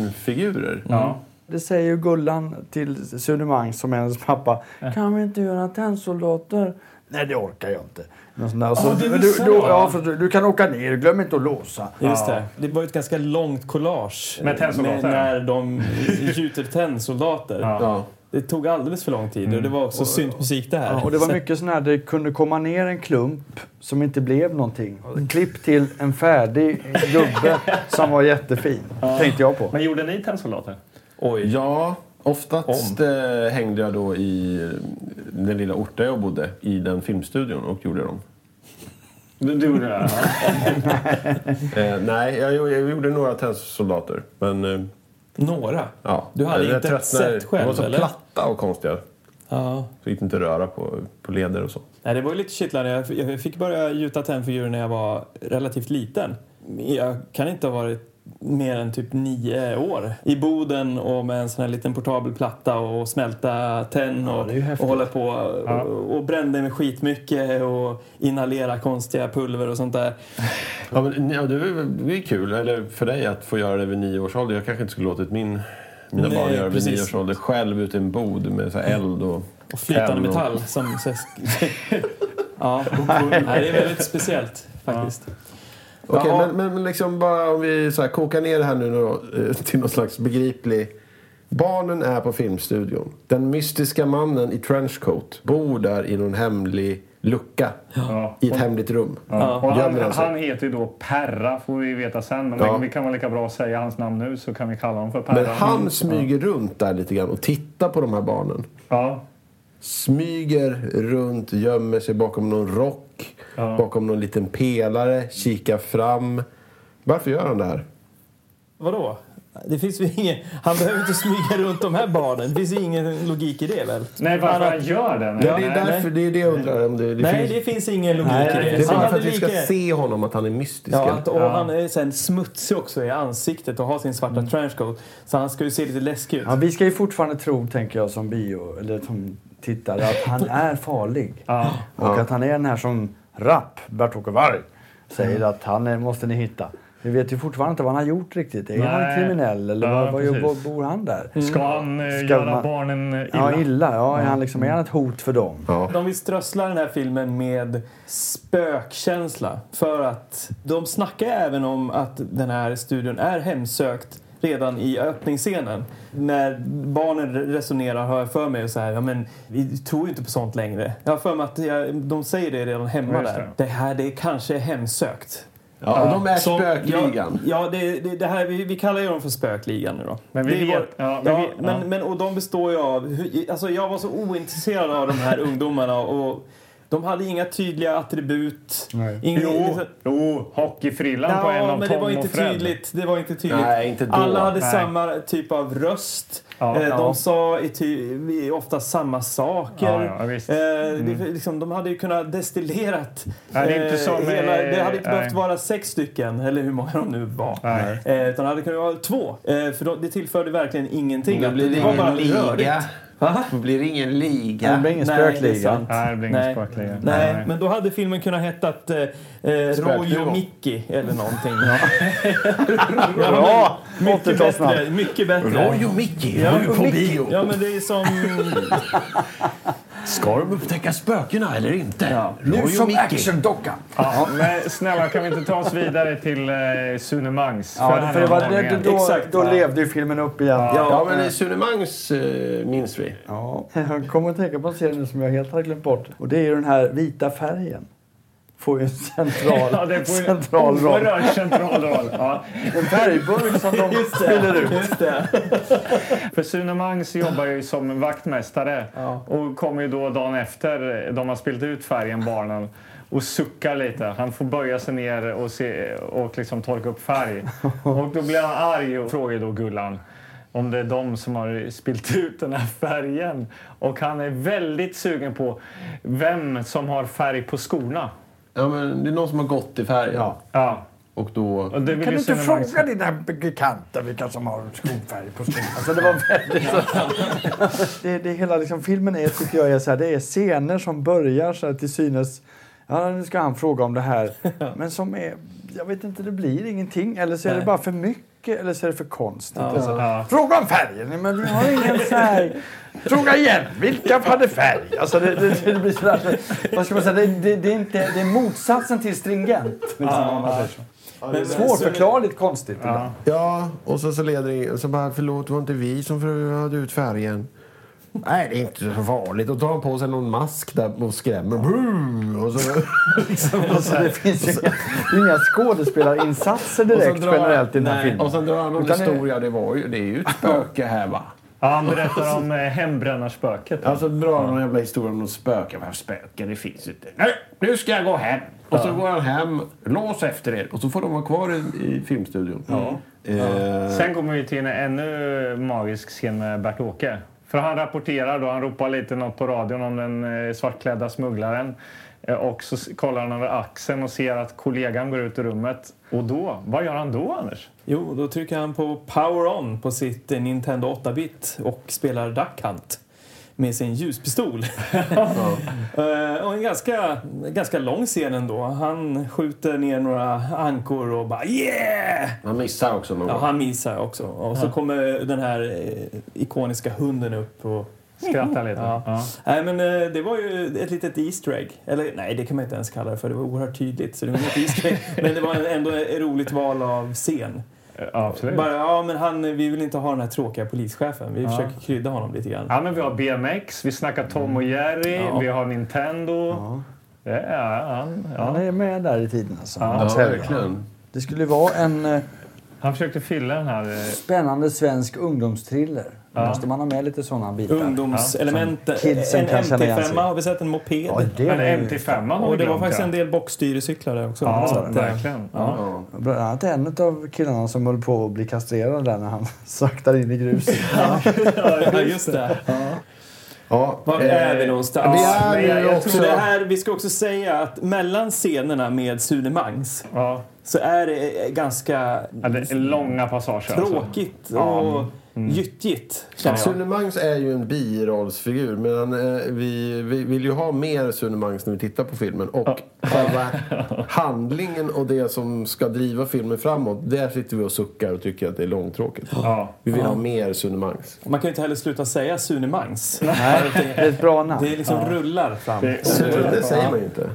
S3: Tennfigurer?
S2: Ja.
S4: Det säger ju Gullan till Sunemang som är hennes pappa. Kan vi inte göra tennsoldater? Nej, det orkar jag inte. Någon sån där. Så,
S1: det
S4: du,
S1: visar
S4: du,
S1: jag.
S4: ja, för du, du kan åka ner, glöm inte att låsa.
S1: Just det. Det var ju ett ganska långt collage.
S2: Med tennsoldater.
S1: När de gjuter tennsoldater.
S3: Ja. Mm.
S1: Det tog alldeles för lång tid och det var också syntmusik det här.
S4: Ja, och det var mycket sån här, det kunde komma ner en klump som inte blev någonting. Och Klipp till en färdig
S1: [laughs]
S4: gubbe som var jättefin. Tänkte jag på.
S2: Men gjorde ni tennsoldater?
S1: Oj.
S3: Ja, oftast eh, hängde jag då i eh, den lilla ort där jag bodde, i den filmstudion och gjorde dem.
S2: Du, du gjorde det? ja.
S3: Eh, nej, jag, jag gjorde några tennsoldater. Men eh,
S1: Några.
S3: ja.
S1: Du hade
S3: Jag
S1: inte
S3: tröttnade.
S1: sett själv,
S3: De var så
S1: eller?
S3: platta och konstiga.
S1: Ja.
S3: Så gick det inte att röra på, på leder och så.
S1: Nej, det var ju lite kittlande. Jag- Jag fick börja gjuta tennfigurer när jag var relativt liten. Jag kan inte ha varit mer än typ nio år. I Boden och med en sån här liten portabel platta och smälta tenn och,
S4: det är ju häftigt.
S1: och hålla på och, och brände mig skitmycket och inhalera konstiga pulver och sånt där.
S3: Ja, men, ja, det är- det är kul eller, för dig att få göra det vid nio års ålder. Jag kanske inte skulle låtit min, mina
S1: Nej,
S3: barn göra det vid
S1: precis. Mm.
S3: nio års ålder själv ute i en bod med så här eld och...
S1: Och flytande
S3: tenn och-
S1: metall [laughs] som... så- ja, Nej, det är väldigt speciellt faktiskt.
S3: Okej,
S1: Jaha.
S3: men, men, men liksom bara om vi så här, kokar ner det här nu då, eh, till någon slags begriplig... Barnen är på filmstudion. Den mystiska mannen i trenchcoat bor där i någon hemlig lucka.
S2: Ja.
S3: I ett hemligt rum.
S1: Ja.
S2: Och han,
S3: Gömmer han sig.
S2: han heter ju då Perra, får vi veta sen. Men
S3: Ja.
S2: vi kan väl lika bra säga hans namn nu så kan vi kalla honom för Perra. Mm.
S3: Men han smyger runt där lite grann och tittar på de här barnen.
S2: Ja.
S3: Smyger runt, gömmer sig bakom någon rock,
S2: Ja.
S3: bakom någon liten pelare, kikar fram. Varför gör han det här?
S1: Vadå? Det finns ju ingen, han behöver inte smyga runt de här barnen. Det finns ju ingen logik i det väl?
S2: Nej, varför
S1: Han har-
S2: han gör det?
S3: Ja, det
S2: nej.
S3: är därför det, är det jag undrar. Om det, det
S1: Nej,
S3: finns...
S1: det finns ingen logik
S4: Nej,
S1: i
S4: det
S1: det.
S4: är
S3: Det är bara
S1: Han
S3: för
S1: hade
S3: att vi ska
S1: lika-
S3: se honom att han är mystisk.
S1: Ja,
S3: eller?
S1: att, och han är sen smutsig också i ansiktet och har sin svarta trenchcoat. Så han ska ju se lite läskig ut.
S4: Ja, vi ska ju fortfarande tro, tänker jag, som bio, eller som tittare, att
S2: [laughs]
S4: han är farlig.
S2: Ja.
S4: Och att han är den här som Rapp, Bert-Åke Varg, säger att han är, måste ni hitta. Vi vet ju fortfarande inte vad han har gjort riktigt. Är han
S2: Nej.
S4: kriminell eller
S2: Ja,
S4: var, var, var,
S2: precis.
S4: bor han där?
S2: Ska han eh,
S4: Ska
S2: göra
S4: man-
S2: barnen eh, illa? Mm.
S4: Ja, illa. Ja, är, han liksom, är han ett hot för dem?
S1: De vill strössla den här filmen med spökkänsla. För att de snackar även om att den här studion är hemsökt redan i öppningsscenen. När barnen resonerar har jag för mig så här, ja men vi tror ju inte på sånt längre. Jag har för mig att jag, de säger det redan hemma
S2: Ja, just
S1: där. Det här, det kanske är hemsökt.
S3: Ja, och de är
S1: Som-
S3: spökligan.
S1: Ja, ja det, det, det här, vi, vi kallar ju dem för spökligan nu då.
S2: Men vi
S1: Det är
S2: vet-
S1: vår-
S2: ja, men
S1: men,
S2: vi-
S1: men,
S2: ja.
S1: och de består ju av... hur- Alltså jag var så ointresserad av de här [laughs] ungdomarna och de hade inga tydliga attribut.
S4: Nej.
S1: Ingen, liksom-
S2: Jo, jo hockeyfrillan på en
S1: Ja,
S2: av
S1: men
S2: Tom
S1: det var inte
S2: och Fred.
S1: tydligt. Det var inte tydligt.
S3: Nej, inte då.
S1: Alla hade
S2: Nej.
S1: samma typ av röst.
S2: Ja,
S1: Eh,
S2: ja.
S1: De sa i ty- ofta samma saker.
S2: Ja, ja, visst.
S1: Eh, det, liksom, de hade ju kunnat destillerat.
S2: Nej, det är inte som,
S1: hela,
S2: eh,
S1: det hade inte
S2: nej.
S1: behövt vara sex stycken, eller hur många de nu var.
S2: Nej.
S1: Eh, utan det hade kunnat vara två. Eh, för de, det tillförde verkligen ingenting.
S8: Det
S1: Att
S8: blir
S1: var
S8: ingen liga.
S1: Va?
S8: Det blir ingen
S4: Det
S8: liga.
S4: blir ingen
S1: Nej, det är
S4: spökliga.
S1: sant.
S2: Nej, det blir ingen
S1: Nej.
S2: spökliga.
S1: Nej, men då hade filmen kunnat hetat eh, eh, Roy och Mickey eller någonting. [laughs] Ja.
S4: Bra!
S1: Mycket
S4: 80-talsnamn.
S1: bättre. Mycket bättre.
S8: Roy och Mickey
S1: Ja,
S8: ja,
S1: och
S8: på
S1: Mickey.
S8: bio.
S1: Ja, men det är som...
S8: Ska de upptäcka spökena eller inte?
S4: Nu
S8: Roy och
S4: som
S8: Mickey.
S4: actiondocka.
S2: Ja, men snälla, kan vi inte ta oss vidare till eh, Sune Mangs?
S4: Ja,
S2: han
S4: för det var,
S2: har
S4: det,
S2: en-
S4: då,
S1: Exakt,
S4: då
S1: ja.
S4: levde ju filmen upp igen.
S3: Ja, men i Sunemangs eh, minns vi.
S4: [laughs] Ja, jag kommer att tänka på en serie nu som jag helt hade glömt bort. Och det är ju den här vita färgen. får ju en central,
S2: [laughs] Ja, det får ju en
S4: central roll.
S2: oerhört central roll. Ja.
S4: En färgburk som
S2: [laughs]
S4: de fyller ut.
S2: För Sune Mangs jobbar ju som vaktmästare och kommer ju då dagen efter eh, de har spilt ut färgen, barnen, och suckar lite. Han får böja sig ner och, se, och liksom torka upp
S4: [laughs]
S2: färg. Och då blir han arg och frågar då Gullan om det är de som har spilt ut den här färgen. Och han är väldigt sugen på vem som har färg på skorna.
S8: Ja, men det är någon som har gått i färg.
S2: Ja.
S8: Och då...
S2: Och det vill
S4: Kan
S2: ju
S4: du inte
S2: Sune Mangs-
S4: fråga dina bekanta vilka som har skonfärg på skorna? Alltså det var väldigt... det, det hela liksom, filmen är, tycker jag, är så här, det är scener som börjar så här, till synes... Ja, nu ska han fråga om det här. [laughs] Men som är... Jag vet inte, det blir ingenting. Eller så är det
S1: Nej.
S4: bara för mycket, eller så är det för konstigt. Alltså,
S2: Ja.
S4: Fråga om färgen, men vi har ingen färg. Fråga igen, vilka hade färg? Alltså det, det, det blir sådär, vad ska man säga, det, det, det, är inte, det är motsatsen till stringent. Liksom, om man säger så.
S1: Men
S4: Svårförklarligt konstigt ibland.
S3: Ja, och så, så leder det in. Så bara, förlåt, var inte vi som förde ut färgen? Nej, det är inte så farligt. Och tar han på sig någon mask där och skrämmer. Vroom! Och så,
S4: [laughs] Alltså, det finns ju inga, det är inga [laughs] skådespelarinsatser direkt generellt i den här
S8: nej,
S4: filmen.
S8: och sen drar han någon
S4: Utan det-
S8: historia. Det, var ju, det är ju ett spöke här, va?
S2: Ja, han berättar om eh, hembrännarsspöket.
S8: Alltså drar han någon jävla historia om något spöke. Men spöken, det finns inte. Nej, nu ska jag gå hem. Och så går han hem, lås efter er. Och så får de vara kvar i, i filmstudion. Eh,
S2: Sen kommer vi till en ännu magisk scen med Bert-Åke. För han rapporterar då, han ropar lite något på radion om den eh, svartklädda smugglaren. Eh, Och så s- kollar han över axeln och ser att kollegan går ut ur rummet. Och då, vad gör han då Anders?
S1: Jo, då trycker han på power on på sitt eh, Nintendo 8-bit och spelar Duck Hunt med sin
S2: [laughs]
S1: ljuspistol. Eh, och en ganska, ganska lång scen ändå. Han skjuter ner några ankor och bara yeah!
S8: Han missar också någon
S1: Ja,
S8: gång.
S1: han missar också. Och så kommer den här eh, ikoniska hunden upp och
S2: Skrattar lite.
S1: Ja.
S2: Ja.
S1: Nej, men eh, det var ju ett litet Easter egg. Eller nej, det kan man inte ens kalla det för. Det var oerhört tydligt. Så det var inget Easter egg. Men det var ändå ett roligt val av scen.
S2: Ja, absolut.
S1: Bara, ja, men han, vi vill inte ha den här tråkiga polischefen. Vi försöker krydda honom lite grann.
S2: Ja, men vi har BMX, vi snackar Tom och Jerry,
S1: Mm. Ja.
S2: vi har Nintendo. Ja, ja, han,
S4: Han
S2: ja.
S4: är med där i tiden alltså.
S8: Ja,
S4: Hans Helga.
S8: verkligen.
S4: det skulle vara en eh,
S2: han försökte fylla den här... eh,
S4: spännande svensk ungdomstriller. Då måste man ha med lite sådana bitar.
S1: Ungdomselementen.
S4: Som kidsen
S1: en
S4: kan känna igen
S1: MT5,
S4: sig.
S1: har vi sett en moped?
S4: Ja, det var
S2: Men
S4: ju-
S2: MT5 har
S1: och
S2: vi
S1: det var
S2: glömt,
S1: faktiskt
S2: ja.
S1: en del bockstyrecyklar där också. Så
S2: Ja,
S1: att, eh,
S2: verkligen. Ja.
S8: Ja.
S4: Bland annat en av killarna som höll på att bli kastrerad där när han [laughs] saktar in i gruset.
S1: Ja, just det.
S3: ja,
S1: Var
S3: eh,
S1: är vi någonstans?
S3: vi är
S1: Men jag-
S3: ju
S1: jag
S3: också-
S1: tror det här, vi ska också säga att mellan scenerna med Sune Mangs
S2: Ja.
S1: så är det eh, ganska
S4: Alltså,
S2: Ja, det är långa passager. Alltså.
S1: tråkigt och
S4: mm.
S1: gyttjigt. känner jag.
S3: Sune Mangs är ju en birollsfigur, men han, eh, vi, vi vill ju ha mer Sune Mangs när vi tittar på filmen. Och [laughs] själva handlingen och det som ska driva filmen framåt, där sitter vi och suckar och tycker att det är långtråkigt.
S2: Ja.
S3: Vi vill ha mer Sune Mangs.
S1: Man kan ju inte heller sluta säga Sune Mangs.
S4: Det är ett bra namn.
S1: Det är liksom rullar fram.
S2: Det är
S3: Sune, det säger man ju inte.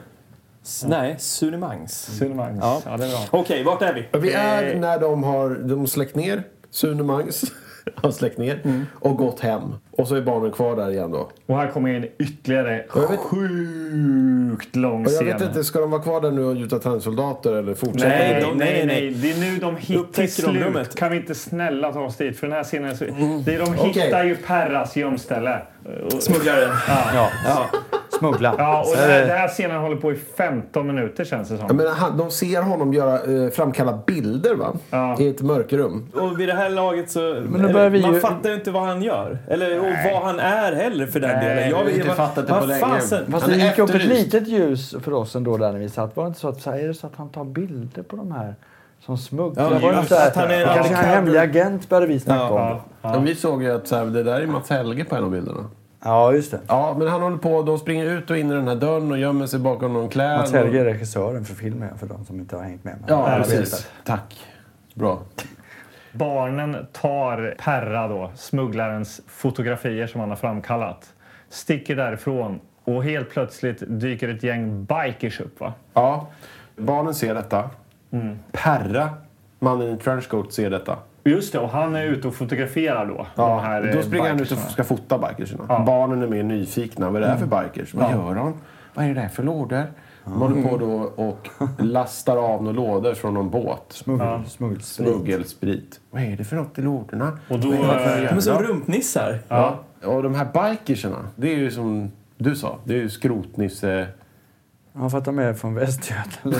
S1: S- Nej, Sune Mangs.
S2: Sune Mangs. Ja. det är bra.
S1: Okej, vart är vi?
S3: Vi är när de har de har släckt ner Sune Mangs. [laughs] Har släckt ner
S2: Mm.
S3: och gått hem. Och så är barnen kvar där igen då.
S2: Och här kommer in ytterligare
S3: jag vet-
S2: sjukt lång
S3: Och jag
S2: scen.
S3: vet inte, ska de vara kvar där nu och gjuta tandsoldater eller fortsätta?
S2: Nej,
S1: Nej,
S2: nej,
S1: de-
S2: nej,
S1: nej,
S2: Det är nu de hittar
S1: Upptäcker
S2: till
S1: de
S2: slut.
S1: rummet? Mm.
S2: Kan vi inte snälla ta oss dit? För den här scenen är så... Det är de
S3: Okej.
S2: hittar ju Perras gömställe. Och-
S1: Smugglaren.
S4: Ja. Smuggla.
S2: Ja, och
S4: Så
S2: den
S4: är
S2: här,
S4: det-
S2: den här scenen håller på i 15 minuter känns det
S3: Jag
S2: som.
S3: menar, han, de ser honom göra, eh, framkalla bilder va?
S2: Ja.
S3: I ett mörkerrum.
S1: Och vid det här laget så...
S4: nu
S1: eller,
S4: börjar vi
S1: man
S4: ju-
S1: fattar ju inte vad han gör. Eller och vad han är heller för den delen. Jag
S8: vi har inte
S1: vad-
S8: fattat det
S1: vad
S8: på länge.
S1: fasen-
S4: Fast
S8: Han
S4: Alltså, det
S8: är
S4: gick upp ett
S8: efterlyst.
S4: litet ljus för oss ändå där när vi satt. Var det inte så att, så här, är det så att han tar bilder på de här som smugglar?
S1: Ja,
S4: var det
S1: just
S4: inte så här,
S1: att han är
S4: kanske en
S1: undercover.
S4: hemlig agent började vi snacka om.
S2: Ja.
S4: Ja.
S3: Men vi såg ju att så här, det där är Mats Helge på en av bilderna.
S4: just det.
S3: Ja, men han håller på. De springer ut och in i den här dörren och gömmer sig bakom någon kläd.
S4: Mats Helge är regissören för filmen för de som inte har hängt med.
S3: Alltså, Ja,
S4: Men-
S3: precis. Tack. Bra.
S2: Barnen tar Perra då, smugglarens fotografier som han har framkallat. Sticker därifrån och helt plötsligt dyker ett gäng bikers upp va?
S3: Ja, barnen ser detta.
S1: Mm.
S3: Perra, mannen i trenchcoat, ser detta.
S2: Just det, och han är ute och fotograferar då. de här, eh,
S3: då springer han ut och
S2: bikersarna.
S3: ska fota bikersarna. Barnen är mer nyfikna. Vad är det här för bikers? Vad gör de? Vad är det där för lådor? De håller på då och lastar av några lådor från någon båt.
S1: Smuggel- Ja.
S3: Smuggelsprit. Smuggelsprit. Vad är det för något i lådorna?
S1: Och då-
S3: Vad är det för
S1: De är
S3: jävla-
S1: som rumpnissar.
S3: Ja. Och de här bikerserna, det är ju som du sa, det är ju skrotnisse...
S4: Ja, för att de är från Västergötland.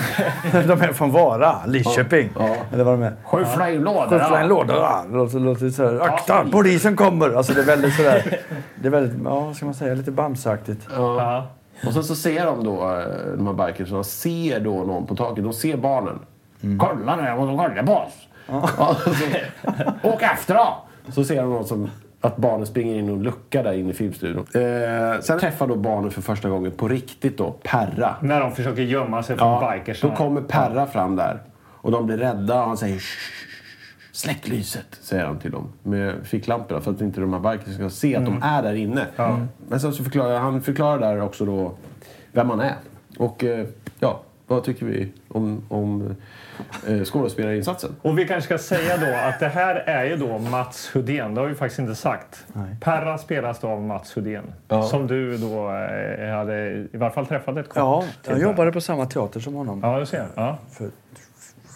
S4: [laughs] de är från Vara, Lidköping. Eller vad de är.
S3: Sju flyglådor,
S4: Sju
S3: ja.
S4: flyglådor. ja. Det låter, låter så här. Akta, polisen kommer! Alltså det är väldigt sådär. Det är väldigt, ja vad ska man säga, lite bamsaktigt.
S3: Ja. Och sen så ser de då, eh, de här bikersarna, ser då någon på taket. De ser barnen. Kolla nu, de kollar på oss! [laughs] Ja. så, Åk efter då! Så ser de någon som, att barnen springer in i en lucka där inne i filmstudion. Eh, sen träffar då barnen för första gången på riktigt då, Perra.
S2: När de försöker gömma sig från bikers.
S3: Då kommer Perra fram där. Och de blir rädda och han säger "Shh, shh, shh, Släck lyset, säger han till dem med ficklamporna för att inte de här bikerna ska se att
S2: Mm.
S3: de är där inne. Mm. Men sen så förklarar han förklarar där också då vem han är. Och eh, ja, vad tycker vi om, om eh, skådespelarinsatsen?
S2: Och vi kanske ska säga då att det här är ju då Mats Hudén. Det har vi faktiskt inte sagt. Perra spelas då av Mats Hudén.
S4: Ja.
S2: Som du då eh, hade i varje fall träffat ett kort
S4: Ja, jag
S2: till.
S4: jobbade på samma teater som honom.
S2: Ja, du ser. Ja.
S4: För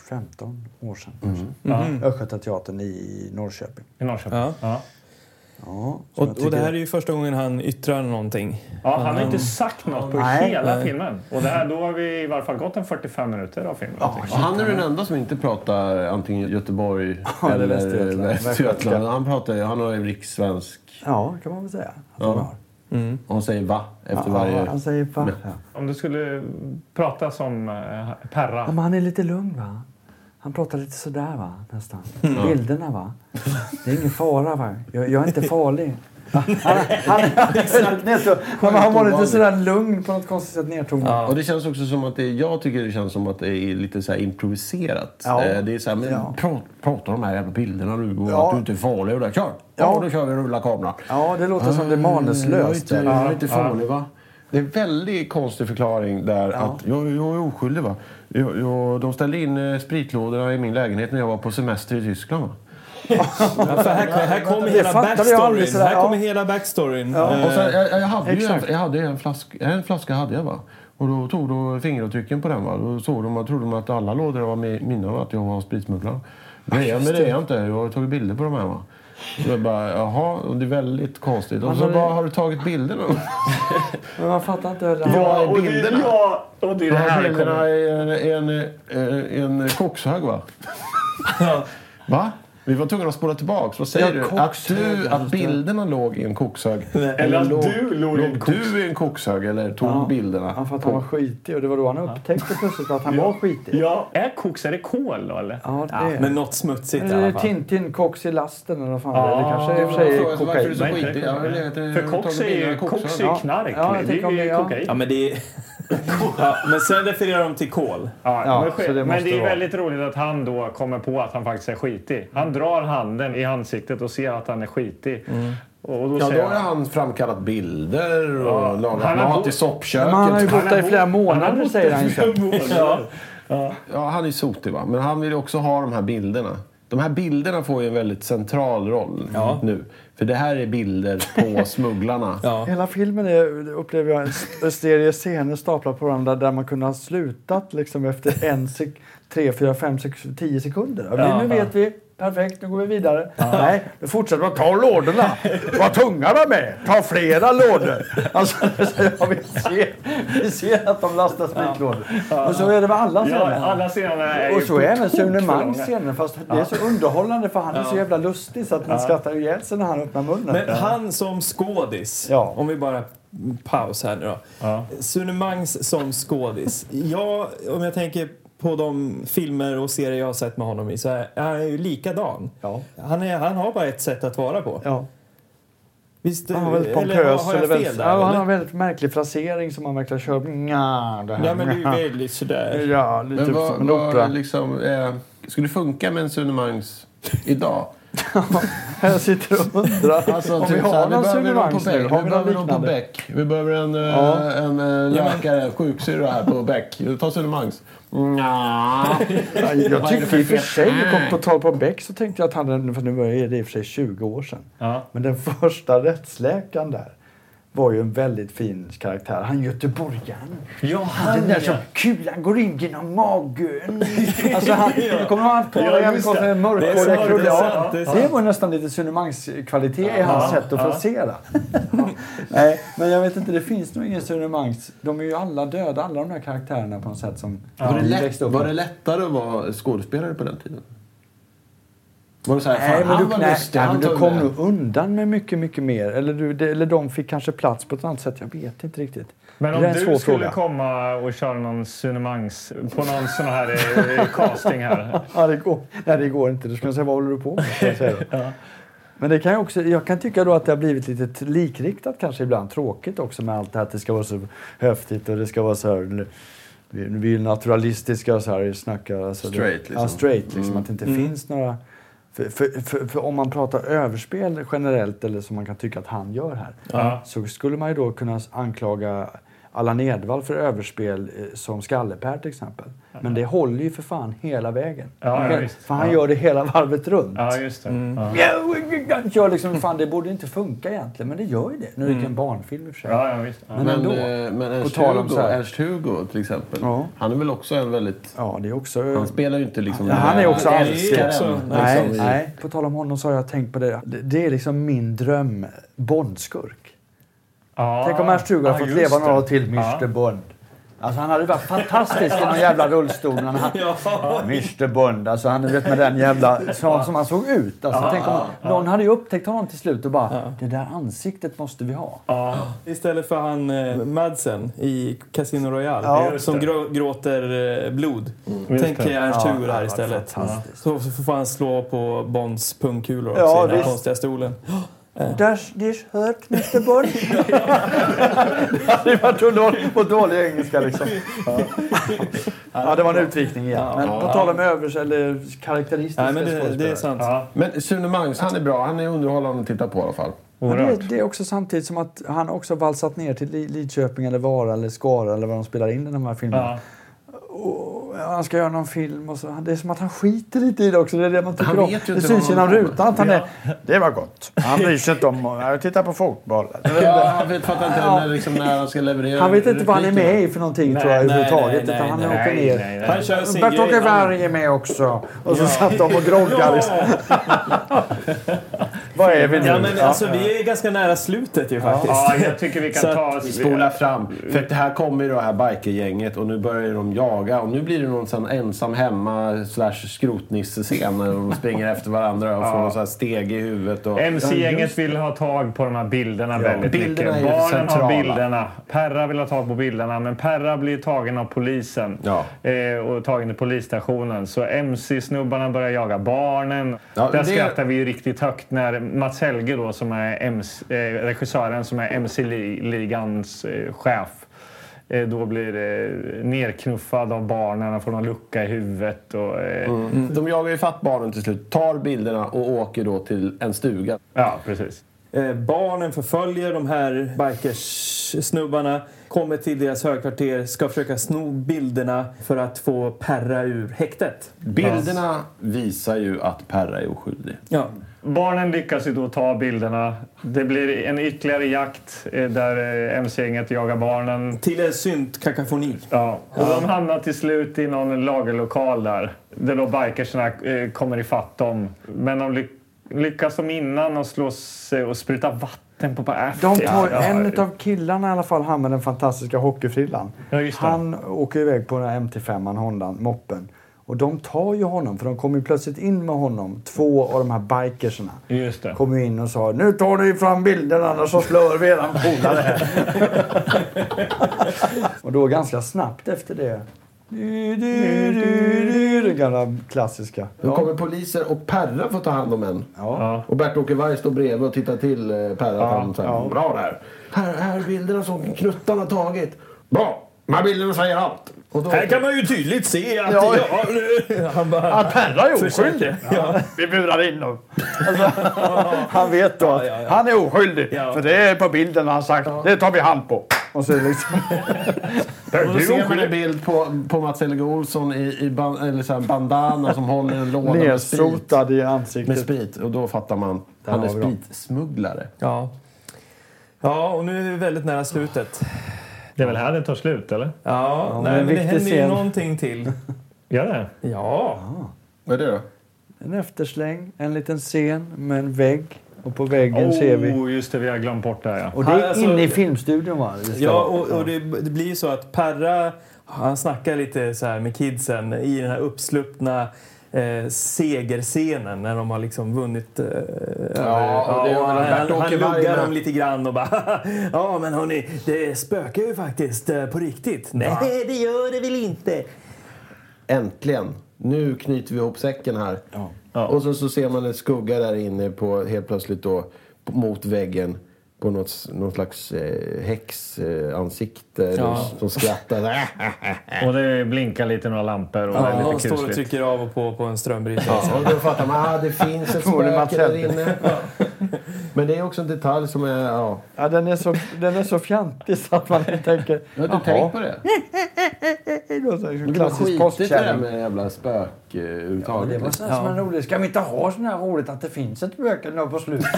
S4: 15 år sedan
S2: Mm.
S4: kanske. Mm-hmm.
S1: Mhm.
S4: Östgötateatern i Norrköping.
S2: I Norrköping?
S1: Ja.
S2: ja.
S1: Och, och det här är ju första gången han yttrar någonting.
S2: Ja, han har inte sagt något på
S1: Nej.
S2: hela
S1: Nej.
S2: filmen. Och det här, då har vi i varje fall gått en 45 minuter av filmen.
S3: Och han är den enda som inte pratar antingen Göteborg
S2: eller
S3: eller
S2: Västergötland.
S3: Västergötland. Han, pratar, ju- han har en rikssvensk...
S4: Ja, kan man väl säga.
S3: Ja. Och han säger va efter
S4: Ja,
S3: varje...
S4: han säger va.
S3: Men-
S4: Ja.
S2: Om du skulle prata som eh, Perra.
S4: Ja, men han är lite lugn va? Han pratar lite sådär va, nästan.
S2: Mm.
S4: Bilderna va? Det är ingen fara va? Jag, jag är inte farlig. [laughs] Han, han, han, han var lite sådär lugn på något konstigt sätt, nedtonad.
S3: Och det känns också som att det, jag tycker det känns som att det är lite så här improviserat.
S4: Ja.
S3: Eh, Det är så här, men
S4: Ja.
S3: pra, prata om de här jävla bilderna nu och
S4: Ja.
S3: att du inte är farlig och där. Kör! Ja, då kör vi rulla kameran.
S4: Ja, det låter som det är
S3: Jag är
S4: manuslöst.
S3: inte, jag är inte farlig va? Det är en väldigt konstig förklaring där att jag, jag är oskyldig va. Jag, jag, de ställde in eh, spritlådorna i min lägenhet när jag var på semester i Tyskland va.
S1: Ja, för här, här kommer
S3: Det
S1: hela
S3: fattade jag aldrig
S1: backstoryn.
S3: sådär,
S1: Här
S3: ja.
S1: kommer hela backstoryn.
S3: Ja.
S1: Eh,
S3: Och sen, jag, jag hade ju en,
S1: exakt.
S3: jag hade en, flask, en flaska hade jag va. Och då tog de fingeravtrycken på den va. Då såg de, trodde de att alla lådor var mi- mina va, att jag var spritsmugglare. Nej,
S8: Ja,
S3: men
S8: just
S3: det är
S8: det.
S3: jag inte. Jag har tagit bilder på de här va. Så jag bara, jaha, och det är väldigt konstigt. Och
S4: Man
S3: så
S4: hade-
S3: bara, har du tagit bilder då?
S4: Men man fattar inte heller.
S3: Ja, och det- bilderna?
S2: Ja, och det är det
S3: här
S2: här det
S3: bilderna
S2: kommer.
S3: är en, en, en, en kokshög va? va? Vi var tvungna att spola tillbaka. Vad säger
S2: Ja,
S3: du? Att,
S2: kokshög,
S3: du?
S2: alltså.
S3: att bilderna låg i en kokshög?
S2: Eller att du låg i en
S3: du i en kokshög? Eller tog
S4: Ja.
S3: bilderna?
S4: Han fattar att han var skitig och det var då han upptäckte plötsligt att han var skitig.
S2: Ja, är koks, är det kol då eller?
S4: Ja, det
S1: Ja, men något smutsigt i
S4: Eller är
S1: alla
S4: det
S1: fall.
S4: Tintin, koks i lasten eller vad fan det
S1: Ja,
S4: är. Det kanske i och för
S1: det
S4: sig
S1: var
S4: är
S2: Eh,
S1: frågan, varför är eh, det
S4: kokain.
S1: så skitigt? Jag har legat-
S2: För koks är ju koks är ju knark.
S4: Ja, jag
S2: det
S4: tänker om
S2: är
S4: det,
S2: ju
S4: ja.
S2: kokain.
S1: Ja, men det är... ja, men sen refererar de till kol.
S2: Ja, men, sk- men det är väldigt roligt att han då kommer på att han faktiskt är skitig. Han drar handen i ansiktet och ser att han är skitig. Och, och då
S3: Ja, då
S2: säger
S3: har
S2: han...
S3: han framkallat bilder och
S2: Ja.
S3: lagat
S2: Han har
S3: mat
S2: bott-
S3: i soppköket.
S2: Men han har ju bott där i flera
S3: bott-
S2: månader,
S3: har bott
S2: säger
S3: där i
S2: han ju.
S3: flera månader.
S2: Ja.
S3: Ja. ja, han är sotig va. Men han vill ju också ha de här bilderna. De här bilderna får ju en väldigt central roll nu. För det här är bilder
S1: [laughs]
S3: på smugglarna.
S4: Hela filmen är, upplever jag, en serie scener staplade på varandra där man kunde ha slutat liksom efter en sek- tre, fyra, fem, sex, tio sekunder. Ja,
S14: Ja,
S4: nu
S14: ja.
S4: vet vi, perfekt, nu går vi vidare. Nej, nu fortsätter man. Ta lådorna! Vad tunga de är! Ta flera lådor! Alltså, [laughs] ja, vi, ser, vi ser att de lastar spritlådor. Och så är det med alla
S2: Ja,
S4: scener.
S2: alla scenerna är ju
S4: Och så är även
S2: på tok
S4: Sune
S2: för
S4: Mangs
S2: långa.
S4: scener. Fast det
S1: Ja.
S4: är så underhållande för han är
S1: Ja.
S4: så jävla lustig så att man
S1: Ja.
S4: skrattar ihjäl sig när han öppnar munnen.
S1: Men han som skådis, om vi bara paus här nu då. Sune Mangs som skådis. Jag, om jag tänker på de filmer och serier jag har sett med honom i så är han är ju likadan. Han, är, han har bara ett sätt att vara på. Visst,
S4: Han var väldigt
S1: eller har
S4: pompös.
S1: jag
S4: Eller
S1: fel
S4: väldigt,
S1: där?
S4: ja, han
S1: eller?
S4: har en väldigt märklig frasering som han verkligen kör. Nja, det här.
S1: Ja, men det är ju
S4: nja.
S1: väldigt sådär.
S4: Ja, lite
S1: Typ
S3: Men vad,
S4: som en
S3: vad
S4: opera.
S3: liksom, eh, skulle det funka med en Sune Mangs idag?
S4: Jag sitter och undrar
S3: Alltså,
S4: om
S3: typ
S4: vi
S3: så här,
S4: har
S3: vi
S4: någon
S3: behöver
S4: Sune
S3: någon på
S4: Mangs
S3: Beck.
S4: nu. Har
S3: Vi
S4: vi någon
S3: behöver någon på
S4: liknande?
S3: Beck. Vi behöver en, eh,
S4: Ja.
S3: en eh, läkare, sjuksyrra här på Beck. Ta Sune Mangs. Nja.
S4: Jag tyckte i och för sig, jag kom på tal på Beck så tänkte jag att han, för nu är det i och för sig 20 år sedan. Men den första rättsläkaren där var ju en väldigt fin karaktär. Han göteborgaren.
S2: Ja,
S4: Han den där som kulan går in
S2: [laughs]
S4: genom magen. Alltså han, du kommer ihåg han
S2: Ja,
S4: porrade
S2: just
S4: med
S2: det. Det är
S4: mörkhåriga
S2: sant, det är sant, det är
S4: krullar.
S2: sant.
S4: Det var nästan lite sunemangskvalitet i hans
S2: Ja,
S4: sätt att
S2: ja.
S4: frasera. [laughs] Nej, men jag vet inte, det finns nog ingen sunemangs. De är ju alla döda, alla de där karaktärerna på något sätt som
S3: Var, det
S4: vi
S3: lätt,
S4: växte upp
S3: var
S4: med.
S3: det lättare att vara skådespelare på den tiden? Var det så här, fan,
S4: Nej, men
S3: han
S4: du,
S3: var
S4: nej,
S3: lustig,
S4: nej,
S3: han
S4: men du
S3: tog
S4: kom
S3: med.
S4: nog undan med mycket, mycket mer. Eller, du, det- eller de fick kanske plats på ett annat sätt. Jag vet inte riktigt.
S2: Men om
S4: det är en
S2: du
S4: svår
S2: skulle
S4: fråga.
S2: komma och köra någon sunemangs på någon sån här eh, casting här.
S4: ja, det går, nej, det går inte. Du skulle jag säga, vad håller du på med? skulle
S2: [laughs]
S4: jag säga då. Men det kan jag, också, jag kan tycka då att det har blivit lite t- likriktat kanske ibland. Tråkigt också med allt det här att det ska vara så höftigt och det ska vara så här... nu- Vi vi är naturalistiska och så här, vi snackar... Alltså
S3: Straight,
S4: det,
S3: liksom.
S4: Ja, straight liksom.
S3: Mm.
S4: Att det inte
S3: Mm.
S4: finns några... För, för, för, för om man pratar överspel generellt, eller som man kan tycka att han gör här,
S2: Ja.
S4: så skulle man ju då kunna anklaga Allan Edwall för överspel eh, som Skallepär till exempel. Men det håller ju för fan hela vägen.
S2: Ja, ja,
S4: He-
S2: visst.
S4: för han
S2: Ja.
S4: gör det hela varvet runt.
S2: Ja, just det.
S4: Mm.
S2: Ja.
S4: Jag kör liksom, fan det borde inte funka egentligen, men det gör ju det. Nu är det ju en barnfilm i och för sig.
S2: Ja, ja, visst. Ja.
S4: Men
S3: Men,
S4: ändå.
S3: eh, men Ernst,
S4: På tal om
S3: Hugo,
S4: så här-
S3: Ernst Hugo till exempel.
S4: Ja.
S3: Han är väl också en väldigt...
S4: Ja, det är också...
S3: Han spelar ju inte liksom...
S4: Ja, han är också
S3: Jag
S4: allsken.
S3: älskar
S1: också-
S3: den,
S4: Nej,
S3: liksom, i-
S4: nej, på tal om honom så har jag tänkt på det. Det- Det är liksom min dröm, Bondskurk.
S2: Ja.
S4: Tänk om Ernst Hugo hade
S2: Ja,
S4: fått
S2: Ah. just
S4: leva några
S2: det.
S4: år till, Mr Bond. Alltså han hade varit fantastisk i den jävla rullstolen. Han hade, Mr Bond, alltså han vet med den jävla... Så, som han såg ut. Alltså, tänk om, någon hade ju upptäckt honom till slut och bara, det där ansiktet måste vi ha.
S2: Ja.
S1: Istället för han eh, Madsen i Casino Royale
S4: Mm. Ja, Mm.
S1: eh, som grå, gråter eh, blod. Tänker jag Ernst Hugo där istället. Så, så får han slå på Bonds pungkulor också
S4: Ja,
S1: i den här
S4: visst.
S1: konstiga stolen.
S4: Does this hurt Mr [laughs] Bond? det hade varit underbart på dålig engelska liksom. Ja. ja, det var en utvikning igen. Men på tal om övers eller karaktäristiska
S1: Nej, men det, det är
S4: skådespelare.
S1: sant.
S2: Ja.
S3: Men Sune Mangs, han är bra. Han är underhållande att titta på i alla fall.
S4: Men
S2: Oerhört.
S4: det, det är också samtidigt som att han också valsat ner till Li- Lidköping eller Vara eller Skara eller vad de spelar in i de här filmerna.
S2: Ja.
S4: Och han ska göra någon film och så. Det är som att han skiter lite i det också. Det är det man tycker
S3: Han
S4: om.
S3: vet ju
S4: Det
S3: inte
S4: syns
S3: vad han
S4: genom
S3: håller på
S4: rutan att han är... Det var gott. Han bryr sig inte om... Jag tittar på fotboll.
S3: Ja, han vet, fattar inte när, liksom, när han ska leverera
S4: Han vet inte vad han är med i för någonting tror
S1: nej,
S4: jag överhuvudtaget.
S1: nej,
S4: utan han
S1: nej,
S4: åker ner.
S2: nej, nej.
S1: Han kör sin grej.
S4: Bert-Åke
S1: Han-
S4: Werg är med också. Och så satt de och groggade. Liksom.
S1: Ja,
S4: Vad är vi nu?
S1: ja, men
S4: Ja.
S1: alltså, vi är ganska nära slutet ju faktiskt.
S2: ja, jag tycker vi
S1: Så
S2: kan
S1: att-
S2: ta...
S3: Spola fram. För att det här kommer ju det här bikergänget och nu börjar de jaga. Och nu blir det någon sån ensam hemma slash skrotnisse-scen. När de springer [laughs] efter varandra och får någon sån här steg i huvudet. Och...
S2: MC-gänget vill ha tag på de här bilderna väldigt
S3: bilderna är ju
S2: mycket. Barnen
S3: centrala.
S2: har bilderna. Perra vill ha tag på bilderna, men Perra blir tagen av polisen
S3: Ja.
S2: eh, och tagen till polisstationen. Så MC-snubbarna börjar jaga barnen.
S3: Ja,
S2: Där
S3: det-
S2: skrattar vi ju riktigt högt när Mats Helge, då, som är MC, eh, regissören som är MC-ligans eh, chef, eh, då blir eh, nerknuffad av barnen. Han får någon lucka i huvudet. Och, eh,
S3: Mm. De jagar ju fatt barnen till slut, tar bilderna och åker då till en stuga.
S2: Ja, precis.
S1: Eh, barnen förföljer de här bikers-snubbarna, kommer till deras högkvarter, ska försöka sno bilderna för att få Perra ur häktet.
S3: Bilderna visar ju att Perra är oskyldig.
S1: Ja.
S2: Barnen lyckas ju då ta bilderna. Det blir en ytterligare jakt eh, där eh, MC-gänget jagar barnen.
S1: Till en syntkakafoni.
S2: Ja. Och de hamnar till slut i någon lagerlokal där. Där då bikersna eh, kommer ifatt dem. Men de ly- lyckas de innan och slå sig och spruta vatten på... Äh,
S4: De
S2: fy-
S4: tar,
S2: ja,
S4: en av killarna i alla fall, han med den fantastiska hockeyfrillan.
S2: Ja, just det.
S4: han åker iväg på den här MT5, an Hondan, moppen. Och de tar ju honom, för de kommer ju plötsligt in med honom, två av de här bikersna.
S2: Just det.
S4: Kom ju in och sa nu tar ni fram bilderna annars så slår vi eran polare. och då ganska snabbt efter det. Du, du, du, du, den gamla klassiska.
S3: Då kommer poliser och Perra får ta hand om en.
S4: Ja.
S3: Och Bert-Åke Varg står bredvid och tittar till eh, Perra. att han så här, Bra där. Här, här är bilderna som knuttarna har tagit. Bra! De här bilderna säger allt. Och då,
S1: Här kan man ju tydligt se att...
S4: Ja.
S1: ja, han bara...
S4: Att Perra är oskyldig.
S1: Försöker. Ja.
S4: Vi burar in dem. Alltså, han vet då att
S1: Ja, ja, ja.
S4: han är oskyldig.
S1: Ja.
S4: För det är på bilden han sagt. Det tar vi hand på.
S2: [laughs]
S4: Och så är det liksom...
S3: och då ser man en bild på, på Mats Helge Olsson i, i ban, eller så här bandana som håller en låda med sprit.
S4: Nedsotad i
S3: Med
S4: ansiktet.
S3: sprit. Och då fattar man.
S4: Där
S3: Han är
S4: har vi dem.
S3: spritsmugglare.
S1: ja. Ja, och nu är vi väldigt nära slutet.
S2: Det är väl här det tar slut, eller?
S1: Ja,
S2: Ja, men
S1: nej, men det
S2: viktig
S1: händer ju
S2: scen.
S1: någonting till.
S2: Gör det?
S1: Ja.
S3: Vad är det då?
S4: En eftersläng, en liten scen med en vägg. Och på väggen ser vi...
S2: Oh, just det, vi har glömt bort det här. Ja.
S4: Och det är inne i filmstudion va? Det ska
S1: Ja,
S4: vara.
S1: och, och det, det blir ju så att Perra, han snackar lite så här med kidsen i den här uppsluppna eh, segerscenen när de har liksom vunnit. Eh,
S3: och det gör
S1: och
S3: väl
S1: han, han, han
S3: Bert-Åke
S1: luggar
S3: Vargman.
S1: dem lite grann och bara [laughs] ja men hörni, det spökar ju faktiskt eh, på riktigt. Nej, det gör det väl inte.
S3: Äntligen! Nu knyter vi ihop säcken här. Och så, så ser man en skugga där inne på, helt plötsligt då, på- mot väggen på något, s- någon slags eh, häxansikte eh, ansikte
S2: Ja.
S3: som- som [laughs] skrattar.
S2: Och det blinkar lite några lampor och
S1: Ja,
S2: det är
S1: han
S2: lite
S1: står och
S2: kusligt.
S1: trycker av och på på en strömbrytare.
S3: Ja, och då fattar man att ah, det finns ett
S4: Förmodligen
S3: spöke
S4: Mats
S3: där inne. Men det är också en detalj som är... Ja.
S4: Ja, den, är så, den är så fjantig så att man tänker...
S3: Jag har inte
S4: "Jaha."
S3: tänkt på det.
S4: Det var så här
S3: Det var
S4: Klassisk
S3: skitigt det där
S4: påskkärring.
S3: med jävla spökuttaget.
S4: Det var så här som en rolig... Ska vi inte ha sån här roligt att det finns ett spöke nu på slutet?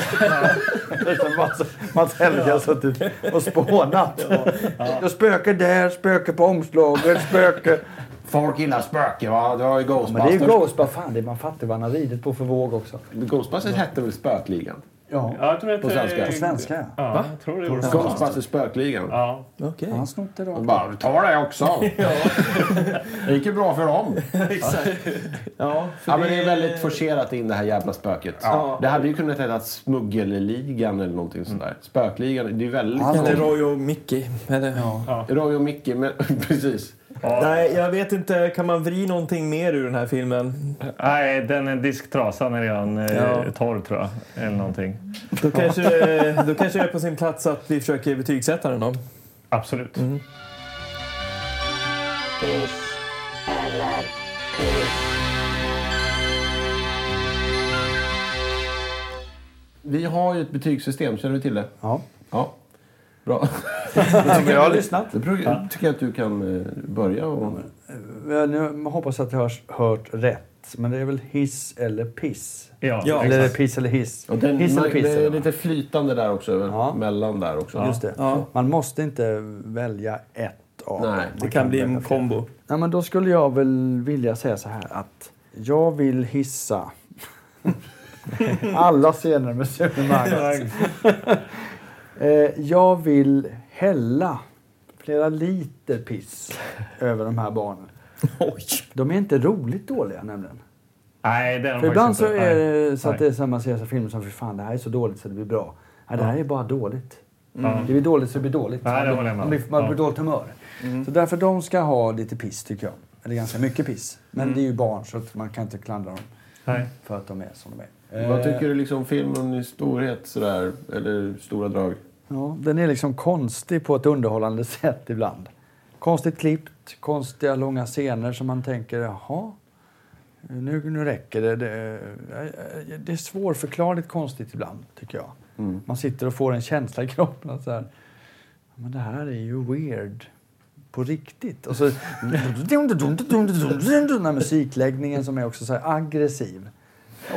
S4: Liksom Mats, Mats Helge har suttit
S2: [laughs]
S4: och spånat. Ja. Spöke där, spöke på omslaget, spöke...
S3: Folk gillar spöken va? Det var ju
S4: Men det är
S3: Ghostbusters.
S4: ju Ghostbusters. Fan, det är man fattar vad han har ridit på för våg också.
S3: Ghostbusters hette väl Spökligan?
S4: Ja.
S2: Ja, jag tror att
S3: På
S2: det-
S3: svenska.
S4: På svenska, ja.
S2: Ja, jag tror det. är-
S3: Ghostbusters Spökligan.
S2: Ja.
S1: Okej.
S4: Han snodde
S3: Och
S4: rakt
S3: bara, ta det [laughs] också! det gick ju bra för dem.
S1: Ja, för
S3: Ja, men det är väldigt forcerat in det här jävla spöket.
S1: Ja.
S3: Det hade ju kunnat heta Smuggelligan eller någonting sånt där. Spökligan, det är väldigt...
S1: Eller Roy och Mickey. Eller?
S3: Roy och Micke, men [laughs] precis.
S1: Nej, jag vet inte. Kan man vri någonting mer ur den här filmen?
S2: Nej, den är disktrasan är redan eh,
S1: Ja.
S2: torr tror jag. Eller någonting.
S1: Då kanske, det- då kanske det är på sin plats att vi försöker betygsätta den då.
S2: Absolut.
S4: Mm.
S3: Vi har ju ett betygssystem, känner du till det?
S4: Ja.
S3: Ja. [laughs] Bra. [laughs]
S4: Men jag har lyssnat.
S3: Då brukar- tycker jag att du kan eh, börja. Och...
S4: Men Nu hoppas jag att jag har hört rätt. Men det är väl hiss eller piss?
S2: Ja,
S1: Ja.
S4: Eller är det
S2: exakt.
S4: piss eller hiss?
S3: Och den,
S4: hiss eller
S3: man,
S4: piss?
S3: det är
S4: eller?
S3: lite flytande där också,
S4: Ja.
S3: mellan där också.
S4: Just det.
S1: Ja.
S4: Man måste inte välja ett av
S3: Nej,
S4: dem.
S3: det
S4: Man
S1: Det kan bli
S4: välja
S1: en
S4: flera.
S1: kombo.
S4: Nej, men då skulle jag väl vilja säga så här att jag
S1: [laughs]
S4: vill hissa alla scener med Superman. Eh, jag vill hälla flera liter piss över de
S3: [laughs]
S4: här barnen.
S1: Oj!
S4: De är inte roligt dåliga nämligen.
S2: Nej, det är den
S4: För ibland
S2: faktiskt inte.
S4: så är
S2: Nej.
S4: det så att
S2: Nej.
S4: det är samma seriösa filmer som för fan det här är så dåligt så det blir bra. Nej, det här är bara dåligt. Mm.
S2: Ja.
S4: Det blir dåligt så det blir dåligt.
S2: Nej, det
S4: man
S2: håller
S4: blir,
S2: jag med
S4: man
S2: om.
S4: blir, man
S2: Ja.
S4: blir
S2: Mm.
S4: dåligt humör. Så därför de ska ha lite piss tycker jag. Eller ganska mycket piss. Men
S2: Mm.
S4: det är ju barn så att man kan inte klandra dem
S2: Nej.
S4: för att de är som de är.
S3: Vad tycker du liksom filmen i storhet sådär, eller stora drag?
S4: Ja, den är liksom konstig på ett underhållande [laughs] sätt ibland. Konstigt klippt, konstiga långa scener som man tänker jaha, nu, nu räcker det. det. eh, Det är svårförklarligt konstigt ibland tycker jag.
S1: Mm.
S4: Man sitter och får en känsla i kroppen att så här, "Ja, men det här är ju weird på riktigt. Och så [laughs] den här musikläggningen som är också så här aggressiv.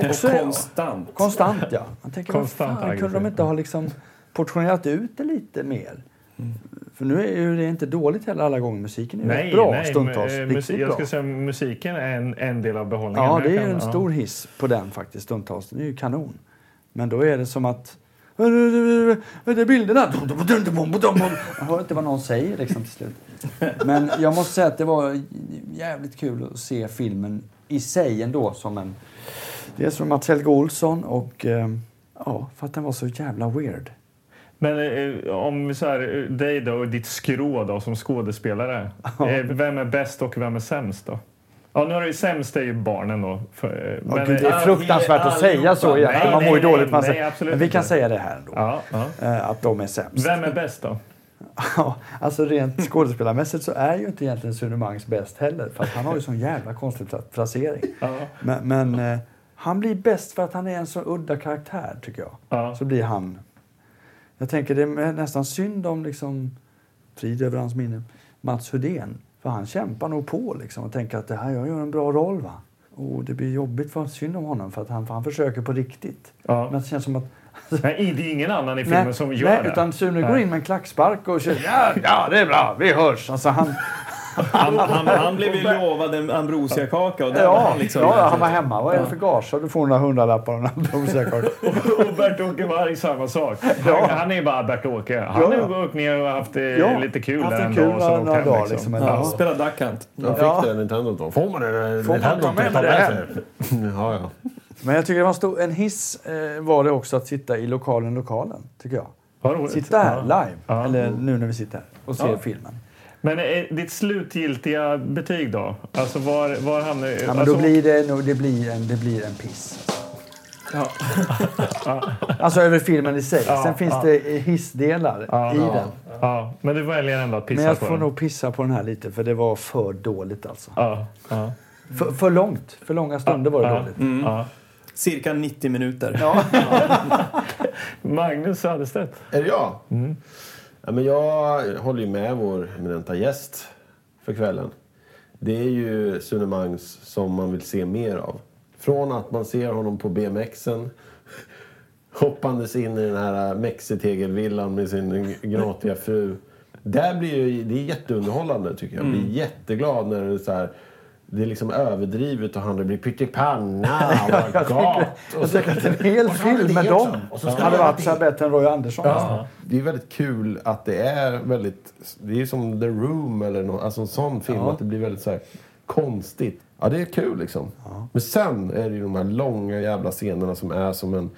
S4: Också-
S1: Och konstant.
S4: Konstant, ja. Man tänker,
S2: Konstant
S4: vad fan,
S2: aggressiv.
S4: kunde de inte ha liksom portionerat ut det lite mer?
S1: Mm.
S4: För nu är ju det inte dåligt heller alla gånger. Musiken är ju rätt bra stundtals.
S2: mu- eh,
S4: Riktigt
S2: musik- jag
S4: bra.
S2: skulle säga musiken är en, en del av behållningen.
S4: Ja, det
S2: Jag
S4: är ju
S2: kan-
S4: en
S2: ja.
S4: stor hiss på den faktiskt stundtals. Den är ju kanon. Men då är det som att... Det är bilderna! Jag hör inte vad någon säger liksom till slut. Men jag måste säga att det var jävligt kul att se filmen i sig ändå som en... Dels som Mats Helge Olsson och... eh, Ja, för att den var så jävla weird.
S2: Men eh, om så här, eh, dig då och ditt skrå då som skådespelare. Eh, vem är bäst och vem är sämst då? Ja, nu har du, sämst är ju barnen då. För, eh,
S4: Åh,
S2: men,
S4: Gud, det är
S2: eh,
S4: fruktansvärt att säga så
S2: Nej,
S4: egentligen. Man
S2: nej,
S4: mår ju
S2: nej,
S4: dåligt. Man
S2: nej,
S4: säger.
S2: absolut
S4: Men vi kan
S2: inte.
S4: säga det här ändå.
S2: ja, ja.
S4: eh, Att de är sämst.
S2: Vem är bäst då?
S4: [laughs] Ja, alltså rent skådespelarmässigt så är ju inte egentligen Sune Mangs bäst heller. För att han har ju sån jävla konstig pla- placering.
S2: Ja.
S4: Men, men eh, han blir bäst för att han är en så udda karaktär tycker jag.
S2: Ja.
S4: Så blir han... Jag tänker det är nästan synd om liksom, frid över hans minne, Mats Hudén. För han kämpar nog på liksom och tänker att det här, jag gör en bra roll va. Och det blir jobbigt för synd om honom för att han, för han försöker på riktigt.
S2: Ja.
S4: Men det känns som att
S2: [laughs] Nej, det är ingen annan i filmen
S4: Nej,
S2: som gör
S4: nej
S2: det.
S4: utan Sune
S2: Nej.
S4: går in med en klackspark och kör, ja, ja, det är bra, vi hörs. Alltså, han,
S1: Han, han, han blev ju lovad en ambrosiakaka och där var
S4: ja,
S1: han liksom...
S4: ja, han var hemma. Vad är det för gage? Ja, Du får några hundralappar och en
S2: [laughs]
S4: ambrosiakaka.
S2: [laughs] Och Bert-Åke Varg samma sak. Han, han är bara Bert-Åke. Han
S4: Ja.
S2: har gått ner och haft det
S4: Ja,
S2: lite kul
S4: haft
S2: där
S4: det
S2: en
S4: kul
S2: dag och sen
S4: några-
S2: åkt
S4: några
S2: hem.
S4: dagar
S2: liksom.
S4: liksom, en
S1: Ja,
S4: dag.
S1: spela Duck Hunt.
S3: Jag fick
S4: Ja.
S3: det Nintendo då. Får man det?
S4: Får man
S3: Nintendo
S4: ta med
S3: tar
S4: det
S3: med sig. Ja, ja.
S4: Men jag tycker det var en, stor, en hiss eh, var det också att sitta i lokalen, lokalen. Tycker jag.
S2: Vad roligt.
S4: Sitta här
S2: Ja.
S4: live,
S2: Ja.
S4: eller nu när vi sitter här, och se
S2: Ja.
S4: filmen.
S2: Men eh, ditt slutgiltiga betyg då? Alltså var, var hamnar...
S4: Ja, men
S2: alltså,
S4: då blir det, nog- det, blir en, det blir en piss. Alltså över filmen i sig.
S2: Ja,
S4: Sen finns
S2: ja.
S4: det hissdelar
S2: Ja,
S4: i
S2: ja.
S4: den.
S2: Ja, men du väljer ändå att pissa
S4: Men jag
S2: på
S4: får
S2: den.
S4: nog pissa på den här lite, för det var för dåligt alltså.
S2: Ja, ja,
S4: För, för långt. För långa stunder var det
S2: ja, Mm.
S4: dåligt.
S2: ja.
S1: Cirka 90 minuter.
S2: Magnus Söderstedt.
S3: Är det jag? Ja, men jag håller ju med vår eminenta gäst för kvällen. Det är ju Sune Mangs som man vill se mer av. Från att man ser honom på BMXen hoppandes in i den här mexitegelvillan med sin gråtiga fru. Där blir ju, det är jätteunderhållande tycker jag. Jag
S4: Mm.
S3: blir jätteglad när det är så här det är liksom överdrivet och han det blir pyttipanna
S4: [laughs]
S3: och vad gott. Och
S4: Jag
S3: så-
S4: tycker att en hel
S3: och så har vi
S4: film
S3: det
S4: med
S3: också.
S4: dem
S3: Och så ska
S4: hade
S3: vi ha
S4: varit så här bättre än Roy Andersson. alltså.
S3: Ja. Det är väldigt kul att det är väldigt... Det är som The Room eller någon, alltså en sån film. Att det blir väldigt så här konstigt. Ja, det är kul liksom. Men sen är det ju de här långa jävla scenerna som är som en...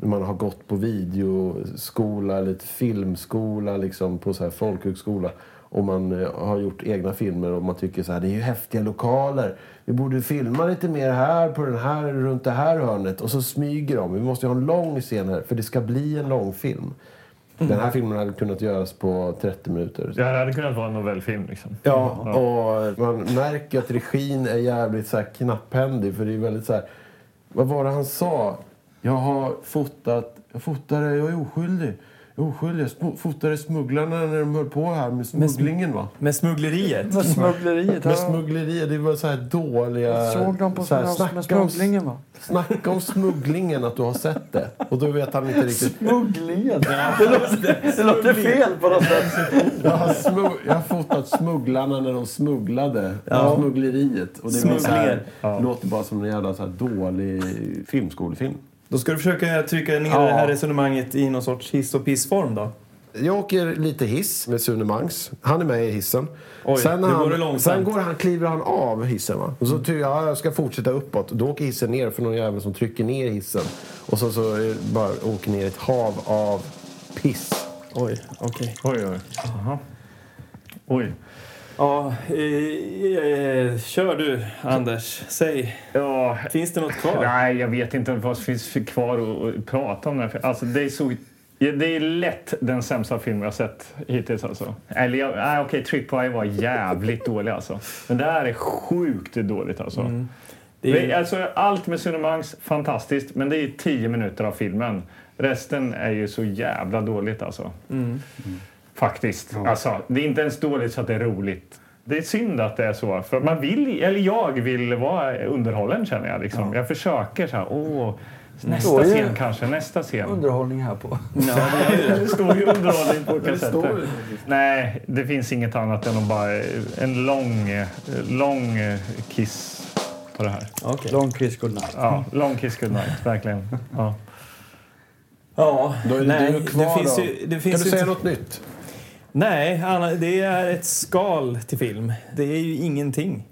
S3: När man har gått på videoskola eller ett filmskola liksom på så här folkhögskola. Och man eh, har gjort egna filmer och man tycker så här, det är ju häftiga lokaler. Vi borde filma lite mer här på den här, runt det här hörnet. Och så smyger de. Vi måste ju ha en lång scen här för det ska bli en lång film. Den här filmen hade kunnat göras på 30 minuter.
S2: Det här hade kunnat vara en novellfilm liksom.
S3: Ja, och man märker att regin är jävligt så här knapphändig. För det är väldigt så här... Vad var det han sa? Jag har fotat... Jag fotade... Jag är oskyldig. Jag är oskyldig. Jag sm- fotade smugglarna när de höll på här med smugglingen, va?
S1: Med smuggleriet.
S4: Med smuggleriet.
S3: Med
S4: Ja.
S3: smugglerier, det var så här dåliga...
S4: Såg de på
S3: så här,
S4: med, med
S3: snacka om-
S4: smugglingen va?
S3: Snacka om smugglingen, att du har sett det. Och då vet
S4: [laughs]
S3: han inte riktigt...
S4: Smugglingen? Det låter, det låter fel på något sätt.
S3: Jag har, smug- jag har fotat smugglarna när de smugglade. Ja. Smuggleriet. Och det var så här, låter bara som en jävla så här dålig filmskolefilm.
S1: Då ska du försöka trycka ner
S3: Ja.
S1: det här resonemanget i någon sorts hiss och pissform då.
S3: Jag åker lite hiss med Sune Mangs. Han är med i hissen.
S1: Oj,
S3: sen
S1: nu
S3: han,
S1: går det långsamt.
S3: sen går han, kliver han av hissen. Va? Och så tycker jag jag ska fortsätta uppåt. Då åker hissen ner för någon jävel som trycker ner hissen. Och så, så är det bara åker ner i ett hav av piss.
S1: Oj, okej.
S2: Oj, oj. Aha. Oj.
S1: Ja, eh, eh, kör du Anders. Säg,
S2: Ja,
S1: finns det något kvar?
S2: Nej, jag vet inte vad som finns för kvar att, att prata om. Den här. filmen. Alltså, det, är så, ja, det är lätt den sämsta film jag har sett hittills. Alltså. Eller jag, nej, okej, Tripwire var jävligt dålig alltså. Men det här är sjukt dåligt alltså.
S1: Det är
S2: Det är, alltså allt med Sune Mangs, fantastiskt, men det är tio minuter av filmen. Resten är ju så jävla dåligt alltså. Faktiskt. Alltså, det är inte ens dåligt så att det är roligt. Det är synd att det är så. För man vill, eller jag vill vara underhållen känner jag. Liksom. Jag försöker så här, åh, nästa
S4: står ju-
S2: scen kanske, nästa scen.
S4: Underhållning här på. [laughs]
S2: Det står ju underhållning [laughs] på kassetter. Nej, det finns inget annat än att bara en lång, eh, lång eh, kiss på det här.
S1: Okej.
S4: Long kiss goodnight.
S1: Mm.
S2: Ja, long kiss goodnight,
S1: [laughs]
S2: verkligen. Ja.
S1: Ja,
S3: Då är det
S1: nej,
S3: du kvar
S1: det finns
S3: då.
S1: ju... Det
S3: Kan
S1: finns
S3: du
S1: ju
S3: säga
S1: inte-
S3: något nytt?
S1: Nej, Anna, det är ett skal till film. Det är ju ingenting.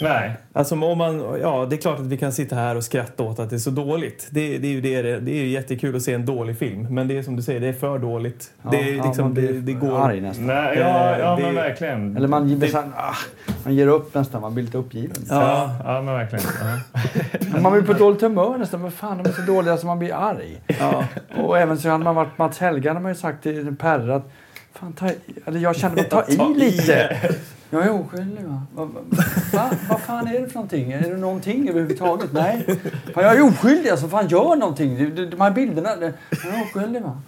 S2: Nej,
S1: Alltså om man, ja, det är klart att vi kan sitta här och skratta åt att det är så dåligt. Det, det, är, ju det, det- det är ju jättekul att se en dålig film. Men det är som du säger, det är för dåligt. det, är
S4: Ja,
S1: liksom,
S4: man blir
S1: det, det går...
S4: arg nästan.
S2: nej ja,
S1: Eh,
S2: ja men
S1: det-
S2: verkligen.
S4: Eller man, nästan, ah, man ger upp nästan. Man blir lite uppgiven.
S1: Ja,
S2: Ja, men verkligen.
S1: [laughs]
S2: Ja.
S4: Men Man blir på dåligt humör nästan. Men fan, de är så dåliga så man blir arg.
S1: ja.
S4: Och även så hade man varit Mats Helga hade man ju sagt till Perre att Fan, ta, i- eller jag kände bara ta i lite. Jag är oskyldig va? Vad va, va, vad fan är det för någonting? Är det någonting överhuvudtaget? Nej. Fan, jag är oskyldig alltså. Fan gör någonting. De, de, de här bilderna. det- Jag är oskyldig va?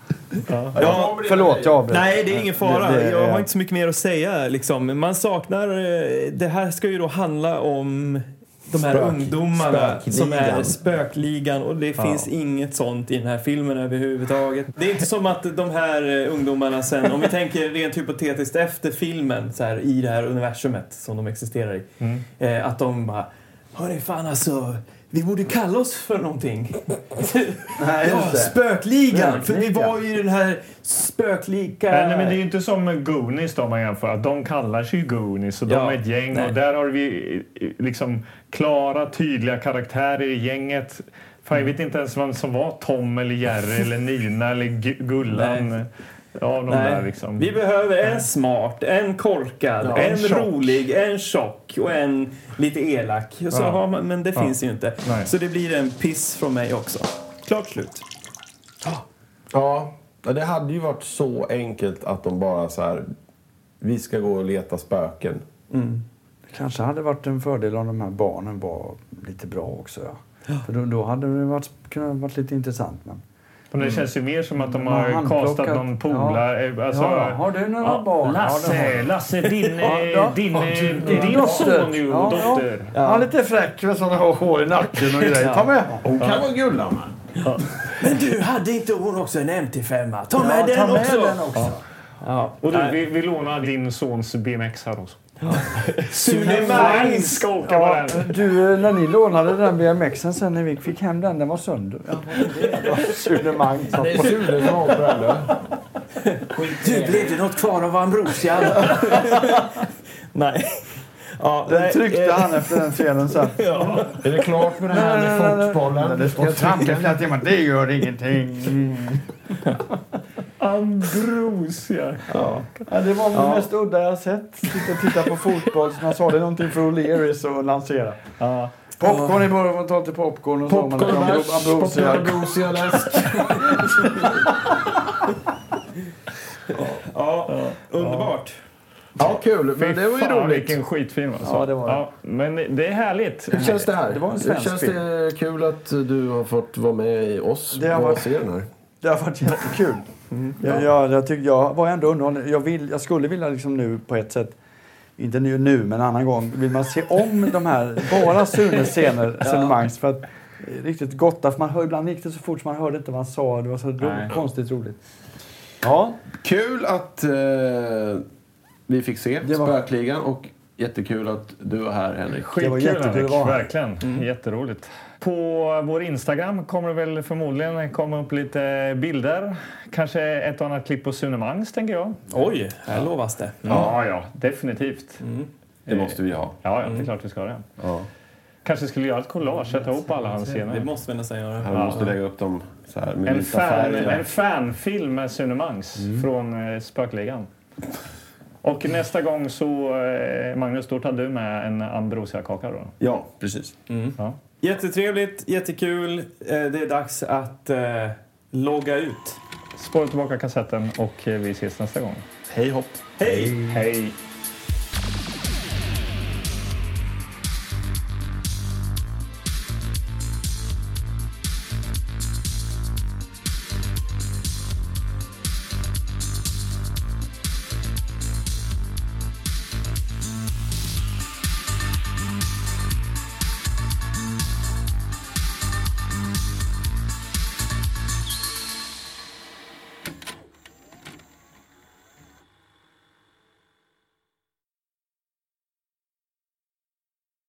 S1: Ja,
S4: Förlåt jag avbröt.
S1: Nej, det är ingen fara.
S4: Det- det-
S1: jag har inte så mycket mer att säga. Liksom. Man saknar... eh, Det här ska ju då handla om de här
S3: Spök-
S1: ungdomarna som är
S3: spökligan.
S1: spökligan och det
S3: Ja.
S1: finns inget sånt i den här filmen överhuvudtaget. Det är inte som att de här eh, ungdomarna sen, om vi tänker rent hypotetiskt efter filmen så här, i det här universumet som de existerar i, eh, att de bara Hörni fan alltså, vi borde kalla oss för någonting.
S4: Nej,
S1: ja,
S4: just det.
S1: spökligan! För vi
S2: Spökligan.
S1: var ju i den här spöklika...
S2: Nej, nej, men det är ju inte som Goonies då om man jämför. Att De kallar sig ju Goonies och
S1: Ja,
S2: de är ett gäng
S1: nej.
S2: och där har vi eh, liksom klara, tydliga karaktärer i gänget. Fan, jag
S1: Mm.
S2: vet inte ens vem som var Tom
S1: [laughs]
S2: eller Jerry eller Nina eller Gu- Gullan.
S1: Nej.
S2: Ja, de
S1: Nej.
S2: där liksom.
S1: Vi behöver en smart, en korkad,
S2: Ja,
S1: en,
S2: en tjock.
S1: rolig, en tjock och en lite elak. Och Så
S2: Ja.
S1: har man, men det
S2: Ja.
S1: finns ju inte.
S2: Nej.
S1: Så det blir en piss från mig också. Klart slut.
S3: Ja, ja, det hade ju varit så enkelt att de bara så här... Vi ska gå och leta spöken.
S4: Det kanske hade varit en fördel om de här barnen var lite bra också. Ja. För då, då hade det varit, kunnat varit lite intressant. Men...
S2: Men
S1: Mm.
S2: det känns ju mer som att de
S4: De har
S2: har
S4: handplockat-
S2: kastat någon polare.
S4: Ja.
S2: Alltså,
S4: Ja, har du några barn? Ja, det har
S2: Lasse,
S4: jag.
S2: Lasse, din,
S4: Ja, ja.
S2: eh, din, eh,
S4: Ja,
S2: din, son nu,
S4: Ja, ja.
S2: dotter.
S4: Ja. Han är lite fräck med sådana här hår i nacken och grejer. Ta med honom.
S3: Hon kan vara Gullan. va?
S1: Men du, hade inte hon också en MT5? Ta med, den,
S4: ta med
S1: också.
S4: den också.
S1: Ja.
S2: Och du, vi, vi lånar din sons BMX här också.
S1: Suleimans!
S2: ska åka
S4: Ja, du, när ni lånade den BMXen sen när vi fick hem den, den var sönder. Sulemang.
S3: Det är Sune som har på den. [laughs] då.
S1: Du, blev det något kvar av ambrosian? nej. Ja,
S4: Den
S1: nej,
S4: tryckte
S1: eh,
S4: han efter den
S1: [laughs]
S4: scenen sen.
S3: Är det klart med den
S4: Nej,
S3: här
S4: nej, nej, nej.
S3: fotbollen?
S4: Det står och trampar i flera timmar. Det gör ingenting.
S1: [laughs]
S2: Ambrosia.
S4: Ja, det var det mest udda jag sett. Sitta och titta på fotboll. Så man sa det är någonting för O'Learys att lansera. Popcorn i början. Man tar till popcorn och så. man
S3: Popcorn,
S4: liksom,
S3: bärs,
S4: ambrosia.
S3: popcorn, ambrosia, läsk.
S1: Ja, underbart.
S3: Ja, kul. Men
S2: Fy
S3: det var ju
S2: fan,
S3: roligt.
S2: vilken skitfilm alltså.
S4: Ja, det var det.
S2: men det är härligt.
S3: Hur känns det här?
S4: Det var en
S3: Hur
S4: svensk
S3: känns det kul att du har fått vara med i oss
S4: Det har
S3: på
S4: varit-
S3: serien här?
S4: Det har varit jättekul.
S2: Mm.
S4: Jag, jag, jag, tycker, jag var ändå underhållen. Jag, vill, jag skulle vilja liksom nu på ett sätt, inte nu, nu men en annan gång, vill man se om de här, bara Sunes scener, resonemangs. För att eh, riktigt gotta, för man hör ibland riktigt så fort så man hörde inte vad han sa. Det var så ro, konstigt roligt. Ja,
S3: Kul att eh, vi fick se
S4: var-
S3: Spökligan och jättekul att du är här, Henrik.
S4: Det var
S2: Skitkul
S4: jättekul
S2: Henrik,
S4: att vara här.
S2: verkligen. Jätteroligt. På vår Instagram kommer det väl förmodligen komma upp lite bilder. Kanske ett och annat klipp på Sune Mangs, tänker jag.
S1: Oj, här lovas det.
S2: Ja, ja, definitivt.
S3: Det måste vi ha.
S2: Ja, ja, det är klart vi ska det.
S3: Ja.
S2: Kanske skulle göra ett collage, sätta ihop alla hans
S1: Det
S2: scener.
S1: måste vi nästan göra.
S3: Vi måste lägga upp dem så här med
S2: En,
S3: vita
S2: fan,
S3: färger.
S2: en fanfilm med Sune Mangs
S3: Mm.
S2: från eh, Spökligan. Och nästa gång så, eh, Magnus, då tar du med en ambrosiakaka då.
S3: Ja, precis.
S1: Jättetrevligt, jättekul. Eh, Det är dags att eh, logga ut.
S2: Spåra tillbaka kassetten och eh, vi ses nästa gång.
S3: Hej hopp.
S2: Hej!